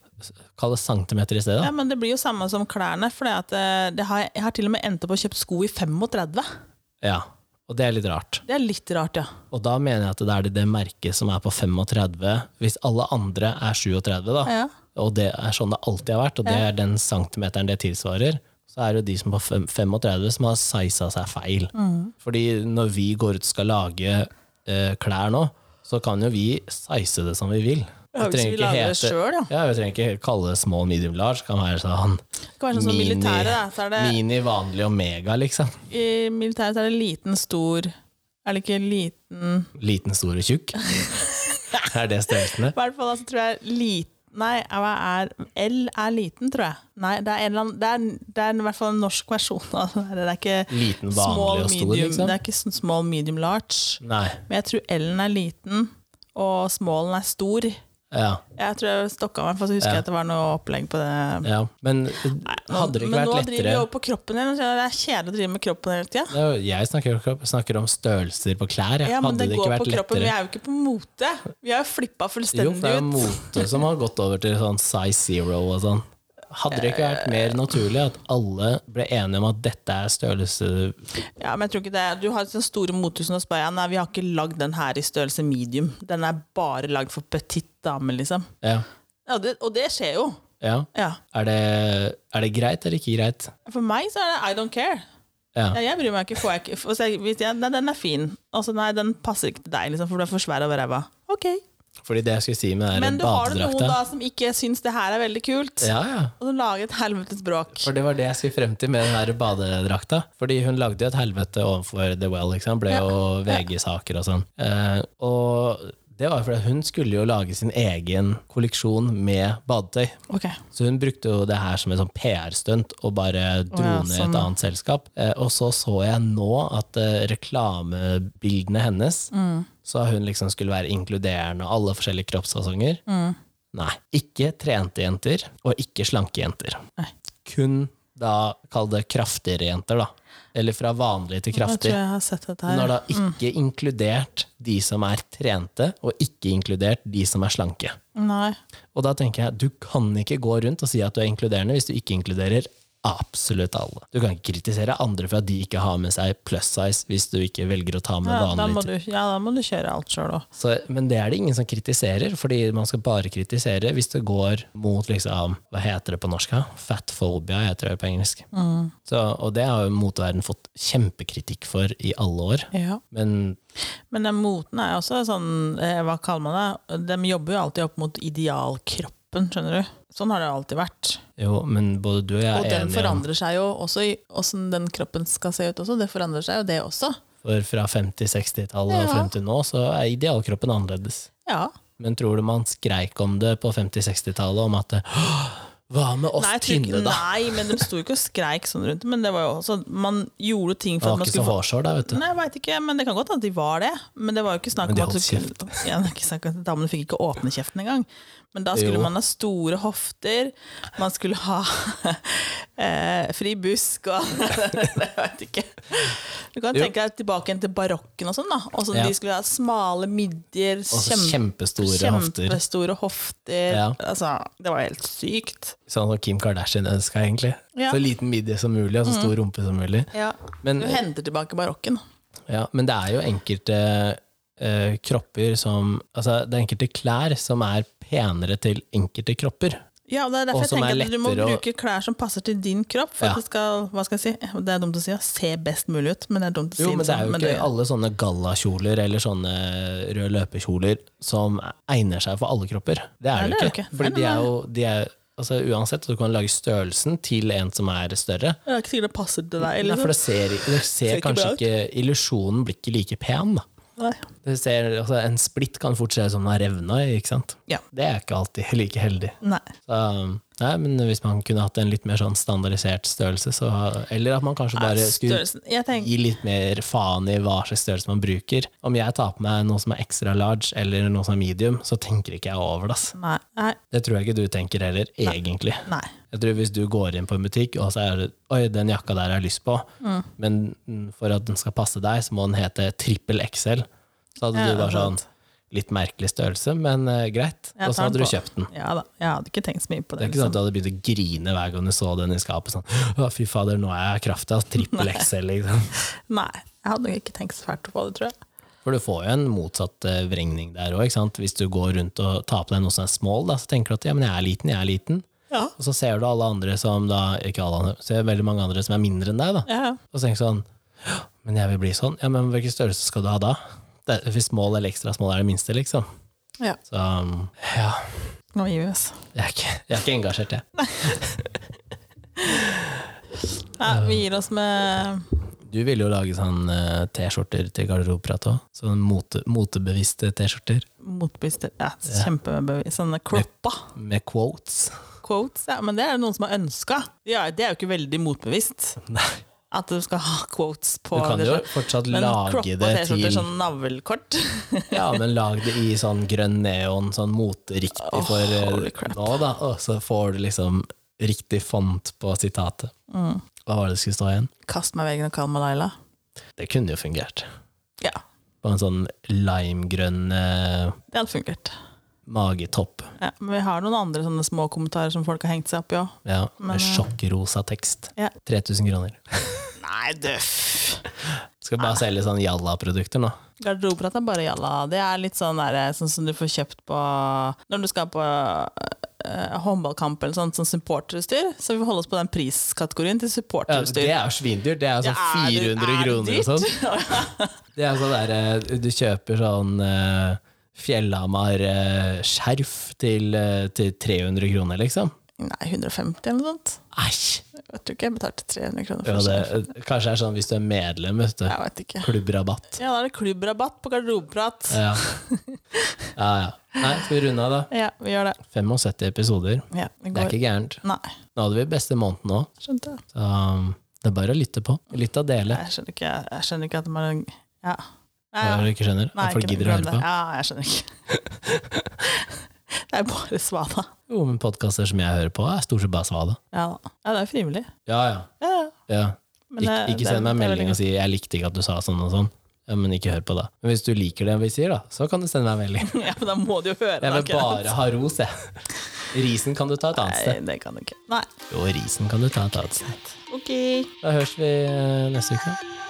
Speaker 1: Kall det centimeter i stedet.
Speaker 2: Ja, men det blir jo samme som klærne. For det har, jeg har til og med endt opp å kjøpe sko i 35.
Speaker 1: Ja. Og det er litt rart.
Speaker 2: Det er litt rart, ja.
Speaker 1: Og da mener jeg at det er det- det merket som er på 35, hvis alle andre er 37, da.
Speaker 2: Ja.
Speaker 1: Og det er sånn det alltid har vært, og det er den centimeteren det tilsvarer. Så er det jo de som på fem- 35 som har siza seg feil.
Speaker 2: Mm.
Speaker 1: Fordi når vi går ut og skal lage eh, klær nå, så kan jo vi size det som vi vil.
Speaker 2: Ja, hvis vi lager det selv, ja.
Speaker 1: ja, vi trenger ikke kalle det small, medium, large. Kan være sånn
Speaker 2: Det kan være sånn som
Speaker 1: Mini-
Speaker 2: militæret. Da, så er det,
Speaker 1: mini, vanlig og mega, liksom.
Speaker 2: I militæret så er det liten, stor Er det ikke liten
Speaker 1: Liten, stor og tjukk. er det størrelsene?
Speaker 2: I hvert fall altså, tror jeg liten Nei, hva er L er liten, tror jeg. Nei, det er, en eller annen, det er, det er i hvert fall en norsk versjon av det. der. Det er ikke
Speaker 1: Liten, vanlig
Speaker 2: small,
Speaker 1: og stor,
Speaker 2: medium,
Speaker 1: liksom?
Speaker 2: Det er ikke sånn small, medium, large.
Speaker 1: Nei.
Speaker 2: Men jeg tror L-en er liten, og smallen er stor.
Speaker 1: Ja,
Speaker 2: Jeg tror jeg stokka meg, for så husker jeg at det var noe opplegg på det.
Speaker 1: ja. Men
Speaker 2: Nå-
Speaker 1: hadde det ikke
Speaker 2: men nå
Speaker 1: vært
Speaker 2: driver vi
Speaker 1: lettere
Speaker 2: over på kroppen igjen. og så er Det er kjedelig å drive med kroppen hele tida.
Speaker 1: Det er jo- Jeg snakker, jo ikke- snakker om størrelser på klær. jeg.
Speaker 2: Ja, men
Speaker 1: hadde
Speaker 2: det
Speaker 1: det ikke
Speaker 2: går
Speaker 1: vært
Speaker 2: på kroppen. Vi
Speaker 1: lettere
Speaker 2: er jo ikke på mote. Vi har jo flippa
Speaker 1: Jo,
Speaker 2: fullstendig
Speaker 1: for det er jo
Speaker 2: ut.
Speaker 1: mote som har gått over til sånn size zero og sånn. Hadde det ikke vært mer naturlig at alle ble enige om at dette er størrelse
Speaker 2: Ja, men jeg tror ikke det. Du har sånne store motehus og spør jeg, nei, vi har ikke lagd den her i størrelse medium. Den er bare lagd for petit dame, liksom.
Speaker 1: Ja.
Speaker 2: Ja, det, og det skjer jo.
Speaker 1: ja.
Speaker 2: Ja.
Speaker 1: Er, det, er det greit eller ikke greit?
Speaker 2: For meg så er det I don't care.
Speaker 1: Ja.
Speaker 2: Ja, jeg bryr meg ikke. Får jeg ikke får jeg, hvis jeg, nei, den er fin. Altså, nei, den passer ikke til deg, liksom, for du er for svær over ræva. Ok.
Speaker 1: Fordi det jeg skulle si med den
Speaker 2: Men
Speaker 1: der
Speaker 2: du har det noen
Speaker 1: badedrakta
Speaker 2: da som ikke syns det her er veldig kult,
Speaker 1: ja, ja.
Speaker 2: og som lager et helvetes bråk.
Speaker 1: For det var det jeg skulle frem til med den her badedrakta. Fordi hun lagde jo et helvete overfor The Well, liksom. Ble jo VG-saker og sånn. Eh, og det var jo fordi hun skulle jo lage sin egen kolleksjon med badetøy.
Speaker 2: Ok.
Speaker 1: Så hun brukte jo det her som et sånn PR-stunt og bare dro
Speaker 2: Å ja,
Speaker 1: ned
Speaker 2: sånn.
Speaker 1: et annet selskap. Eh, og så så jeg nå at eh, reklamebildene hennes
Speaker 2: Mm.
Speaker 1: Så hun liksom skulle være inkluderende og alle forskjellige kroppsfasonger.
Speaker 2: Mm.
Speaker 1: Nei. Ikke trente jenter, og ikke slanke jenter.
Speaker 2: Nei.
Speaker 1: Kun da kall det kraftigere jenter, da. Eller fra vanlig til
Speaker 2: Jeg Mm. tror
Speaker 1: kraftig.
Speaker 2: jeg har sett dette
Speaker 1: Hun har
Speaker 2: her.
Speaker 1: da ikke inkludert de som er trente, og ikke inkludert de som er slanke.
Speaker 2: Nei.
Speaker 1: Og da tenker jeg, du kan ikke gå rundt og si at du er inkluderende hvis du ikke inkluderer absolutt alle. Du kan ikke kritisere andre for at de ikke har med seg plus size hvis du ikke velger å ta med
Speaker 2: Ja, da må
Speaker 1: vanlig.
Speaker 2: du, ja, da må du kjøre alt sjøl òg.
Speaker 1: Så, men det er det ingen som kritiserer, fordi man skal bare kritisere hvis det går mot liksom, hva heter det på norsk? da? Fatphobia heter det på engelsk.
Speaker 2: Mm.
Speaker 1: Så, og det har jo moteverden fått kjempekritikk for i alle år.
Speaker 2: Ja.
Speaker 1: Men
Speaker 2: Men den moten er jo også sånn, eh, hva kaller man det? De jobber jo alltid opp mot idealkroppen, skjønner du. Sånn har det alltid vært.
Speaker 1: jo, men både du og jeg
Speaker 2: Og
Speaker 1: er
Speaker 2: den
Speaker 1: enige om
Speaker 2: forandrer seg jo også i åssen den kroppen skal se ut også. Det forandrer seg jo, det også.
Speaker 1: for fra 50-60-tallet og
Speaker 2: Ja.
Speaker 1: frem til nå, så er idealkroppen annerledes.
Speaker 2: Ja.
Speaker 1: Men tror du man skreik om det på 50-60-tallet, om at «Åh, Hva med oss
Speaker 2: Nei, jeg tror
Speaker 1: tynne,
Speaker 2: ikke,
Speaker 1: da?
Speaker 2: nei, men de sto ikke og skreik sånn rundt. Men det var jo også, man gjorde ting
Speaker 1: Det
Speaker 2: for
Speaker 1: var
Speaker 2: at man
Speaker 1: ikke så
Speaker 2: skulle få
Speaker 1: hårsår da, vet du.
Speaker 2: Nei, jeg vet ikke, men Det kan godt hende at de var det, men det var jo ikke snakk
Speaker 1: Men
Speaker 2: om
Speaker 1: de
Speaker 2: at du
Speaker 1: holdt
Speaker 2: kunne, ja, det er ikke snakk om at damene fikk ikke åpne kjeften engang. Men da skulle
Speaker 1: Jo.
Speaker 2: man ha store hofter, man skulle ha eh, fri busk og Jeg vet ikke. Du kan
Speaker 1: Jo.
Speaker 2: tenke deg tilbake igjen til barokken og sånn. da Og sånn
Speaker 1: Ja.
Speaker 2: De skulle ha smale midjer,
Speaker 1: Og så
Speaker 2: kjempe-
Speaker 1: kjempestore hofter.
Speaker 2: kjempestore hofter.
Speaker 1: Ja.
Speaker 2: Altså, det var helt sykt.
Speaker 1: Sånn som Kim Kardashian ønska, egentlig.
Speaker 2: Ja. Mm.
Speaker 1: Så liten midje som mulig, og så stor rumpe som mulig. Men,
Speaker 2: Du henter tilbake barokken.
Speaker 1: ja, men det er jo enkelte eh, kropper som Altså, det er enkelte klær som er penere til enkelte kropper.
Speaker 2: Ja, og det er
Speaker 1: Og
Speaker 2: derfor jeg
Speaker 1: som
Speaker 2: tenker
Speaker 1: er
Speaker 2: at du må
Speaker 1: lettere å-
Speaker 2: bruke klær som passer til din kropp. For
Speaker 1: Ja.
Speaker 2: at det skal, hva skal jeg si, det er dumt å si, ja, se best mulig ut, men det er dumt å si
Speaker 1: Jo, men det er
Speaker 2: sånn,
Speaker 1: jo ikke alle sånne gallakjoler eller sånne røde løpekjoler som egner seg for alle kropper. Det er det jo
Speaker 2: Nei, det er
Speaker 1: ikke.
Speaker 2: det ikke.
Speaker 1: Fordi
Speaker 2: Nei,
Speaker 1: de
Speaker 2: nei,
Speaker 1: er jo de er, altså, Uansett, du kan lage størrelsen til en som er større.
Speaker 2: Det er ikke sikkert det passer til deg.
Speaker 1: Nei,
Speaker 2: Eller, sånn-
Speaker 1: for det ser, det ser kanskje
Speaker 2: ikke bra ut.
Speaker 1: ikke Illusjonen blir ikke like pen, da.
Speaker 2: Nei.
Speaker 1: Det ser, altså, en splitt kan fort se ut som den har revna i, ikke sant.
Speaker 2: Ja.
Speaker 1: Det er ikke alltid like heldig.
Speaker 2: Nei.
Speaker 1: Så, nei, men hvis man kunne hatt en litt mer sånn standardisert størrelse, så Eller at man kanskje bare skulle
Speaker 2: Størrelsen Jeg tenker
Speaker 1: gi litt mer faen i hva slags størrelse man bruker. Om jeg tar på meg noe som er extra large eller noe som er medium, så tenker ikke jeg over det. ass.
Speaker 2: Nei. Nei.
Speaker 1: Det tror jeg ikke du tenker heller, egentlig.
Speaker 2: nei.
Speaker 1: Jeg tror Hvis du går inn på en butikk og så er det Oi, den jakka der har jeg lyst på, men mm, for at den skal passe deg, så må den hete trippel XL. Så hadde
Speaker 2: Ja,
Speaker 1: du bare sånn
Speaker 2: sant.
Speaker 1: litt merkelig størrelse, men eh, greit.
Speaker 2: Jeg
Speaker 1: Og så
Speaker 2: tar
Speaker 1: hadde du
Speaker 2: den på.
Speaker 1: kjøpt den.
Speaker 2: Ja da. Jeg hadde ikke tenkt så mye på
Speaker 1: Det
Speaker 2: det. liksom.
Speaker 1: er ikke sånn at du hadde begynt å grine hver gang du så den i skapet. Sånn, å fy fader, nå er jeg krafta. Trippel XL, liksom.
Speaker 2: liksom. Nei. Jeg hadde nok ikke tenkt så fælt på det, tror jeg.
Speaker 1: For du får jo en motsatt eh, vrengning der òg. Hvis du går rundt og tar på deg noe som er small, da, så tenker du at ja, men jeg er liten, jeg er liten.
Speaker 2: Ja.
Speaker 1: Og så ser du alle andre som da, ikke alle andre, ser veldig mange andre som er mindre enn deg, da.
Speaker 2: ja.
Speaker 1: Og så tenker du sånn, «Hå, men jeg vil bli sånn. Ja, men hvilken størrelse skal du ha da? Det, hvis small eller ekstra small er det minste, liksom.
Speaker 2: ja.
Speaker 1: Så um, ja,
Speaker 2: Nå gir vi oss.
Speaker 1: jeg er ikke, jeg er ikke engasjert, jeg.
Speaker 2: Nei, vi gir oss med
Speaker 1: Du ville jo lage sånn eh, T-skjorter til garderobeprat òg. Sånn mote, motebevisste T-skjorter
Speaker 2: motbevisste ja, Kjempebevis. Sånne croppa.
Speaker 1: med quotes.
Speaker 2: quotes, ja, men det er det noen som har ønska. Ja, det er jo ikke veldig motbevisst.
Speaker 1: Nei.
Speaker 2: At du skal ha quotes på
Speaker 1: Du kan
Speaker 2: det.
Speaker 1: jo
Speaker 2: sånn.
Speaker 1: fortsatt
Speaker 2: Men
Speaker 1: lage
Speaker 2: croppa
Speaker 1: det
Speaker 2: T-skjorter,
Speaker 1: til
Speaker 2: sånn navlekort.
Speaker 1: Ja, men lag det i sånn grønn neon, sånn moteriktig for eh,
Speaker 2: holy crap.
Speaker 1: nå, da. Og så får du liksom riktig font på sitatet.
Speaker 2: Mm.
Speaker 1: Hva var det det skulle stå igjen?
Speaker 2: Kast meg i veggen og kall meg Laila.
Speaker 1: Det kunne jo fungert.
Speaker 2: Ja,
Speaker 1: På en sånn limegrønn eh,
Speaker 2: det hadde fungert.
Speaker 1: magetopp.
Speaker 2: Ja, men vi har noen andre sånne små kommentarer som folk har hengt seg opp i òg.
Speaker 1: Ja,
Speaker 2: Men, eh,
Speaker 1: med sjokkrosa tekst.
Speaker 2: ja.
Speaker 1: 3000 kroner.
Speaker 2: Nei, døff!
Speaker 1: Skal
Speaker 2: Ah.
Speaker 1: bare selge sånn jalla-produkter nå.
Speaker 2: Garderobeprat er bare jalla. Det er litt sånn, der, sånn som du får kjøpt på Når du skal på eh, håndballkamp eller sånt, sånn supporterutstyr. Så vi får holde oss på den priskategorien
Speaker 1: Ja,
Speaker 2: til
Speaker 1: det
Speaker 2: supporterutstyr.
Speaker 1: er jo svindyrt. Det er jo
Speaker 2: Ja,
Speaker 1: sånn
Speaker 2: er det-
Speaker 1: 400
Speaker 2: er det
Speaker 1: kroner og sånn. Det er sånn der eh, Du kjøper sånn eh, Fjellhamar-skjerf til, eh, til 300 kroner, liksom.
Speaker 2: Nei, 150 eller noe sånt.
Speaker 1: Æsj!
Speaker 2: Jeg tror ikke jeg betalte 300 kroner
Speaker 1: Ja,
Speaker 2: for
Speaker 1: det,
Speaker 2: det.
Speaker 1: kanskje det er sånn hvis du er medlem, vet du.
Speaker 2: Jeg vet ikke.
Speaker 1: Klubbrabatt.
Speaker 2: Ja, da er det klubbrabatt på garderobeprat.
Speaker 1: Ja. ja, ja. Nei, skal vi runde av, da?
Speaker 2: Ja, vi gjør det.
Speaker 1: 75 episoder.
Speaker 2: Ja, vi
Speaker 1: Det er
Speaker 2: går.
Speaker 1: ikke gærent.
Speaker 2: Nei,
Speaker 1: Nå hadde vi beste måneden òg,
Speaker 2: skjønte jeg.
Speaker 1: så um, det er bare å lytte på. Lytte og dele.
Speaker 2: Jeg skjønner ikke, jeg skjønner ikke at man Ja. Nei,
Speaker 1: Hva er det du ikke skjønner?
Speaker 2: nei,
Speaker 1: At folk
Speaker 2: ikke-
Speaker 1: gidder å
Speaker 2: glem
Speaker 1: høre
Speaker 2: det.
Speaker 1: på?
Speaker 2: Ja, jeg skjønner ikke. det er bare svada.
Speaker 1: Jo, men podkaster som jeg hører på, er stort sett bare svada.
Speaker 2: Ja, da. ja, det er frivillig.
Speaker 1: Ja, ja.
Speaker 2: Ja, ja.
Speaker 1: ja.
Speaker 2: Men
Speaker 1: ikke,
Speaker 2: det-
Speaker 1: ikke
Speaker 2: det-
Speaker 1: send meg en
Speaker 2: det er
Speaker 1: melding
Speaker 2: veldig
Speaker 1: og si 'jeg likte ikke at du sa sånn og sånn'. Ja, men ikke hør på det. Men hvis du liker det vi sier, da, så kan du sende meg en melding.
Speaker 2: godt. Ja, men da må du jo høre
Speaker 1: Jeg
Speaker 2: det.
Speaker 1: vil
Speaker 2: akkurat.
Speaker 1: bare ha ros, jeg. Risen kan du ta et annet sted.
Speaker 2: Nei, det kan du ikke. Nei.
Speaker 1: Jo, risen kan du ta et annet sted.
Speaker 2: Ok.
Speaker 1: Da høres vi eh, neste uke.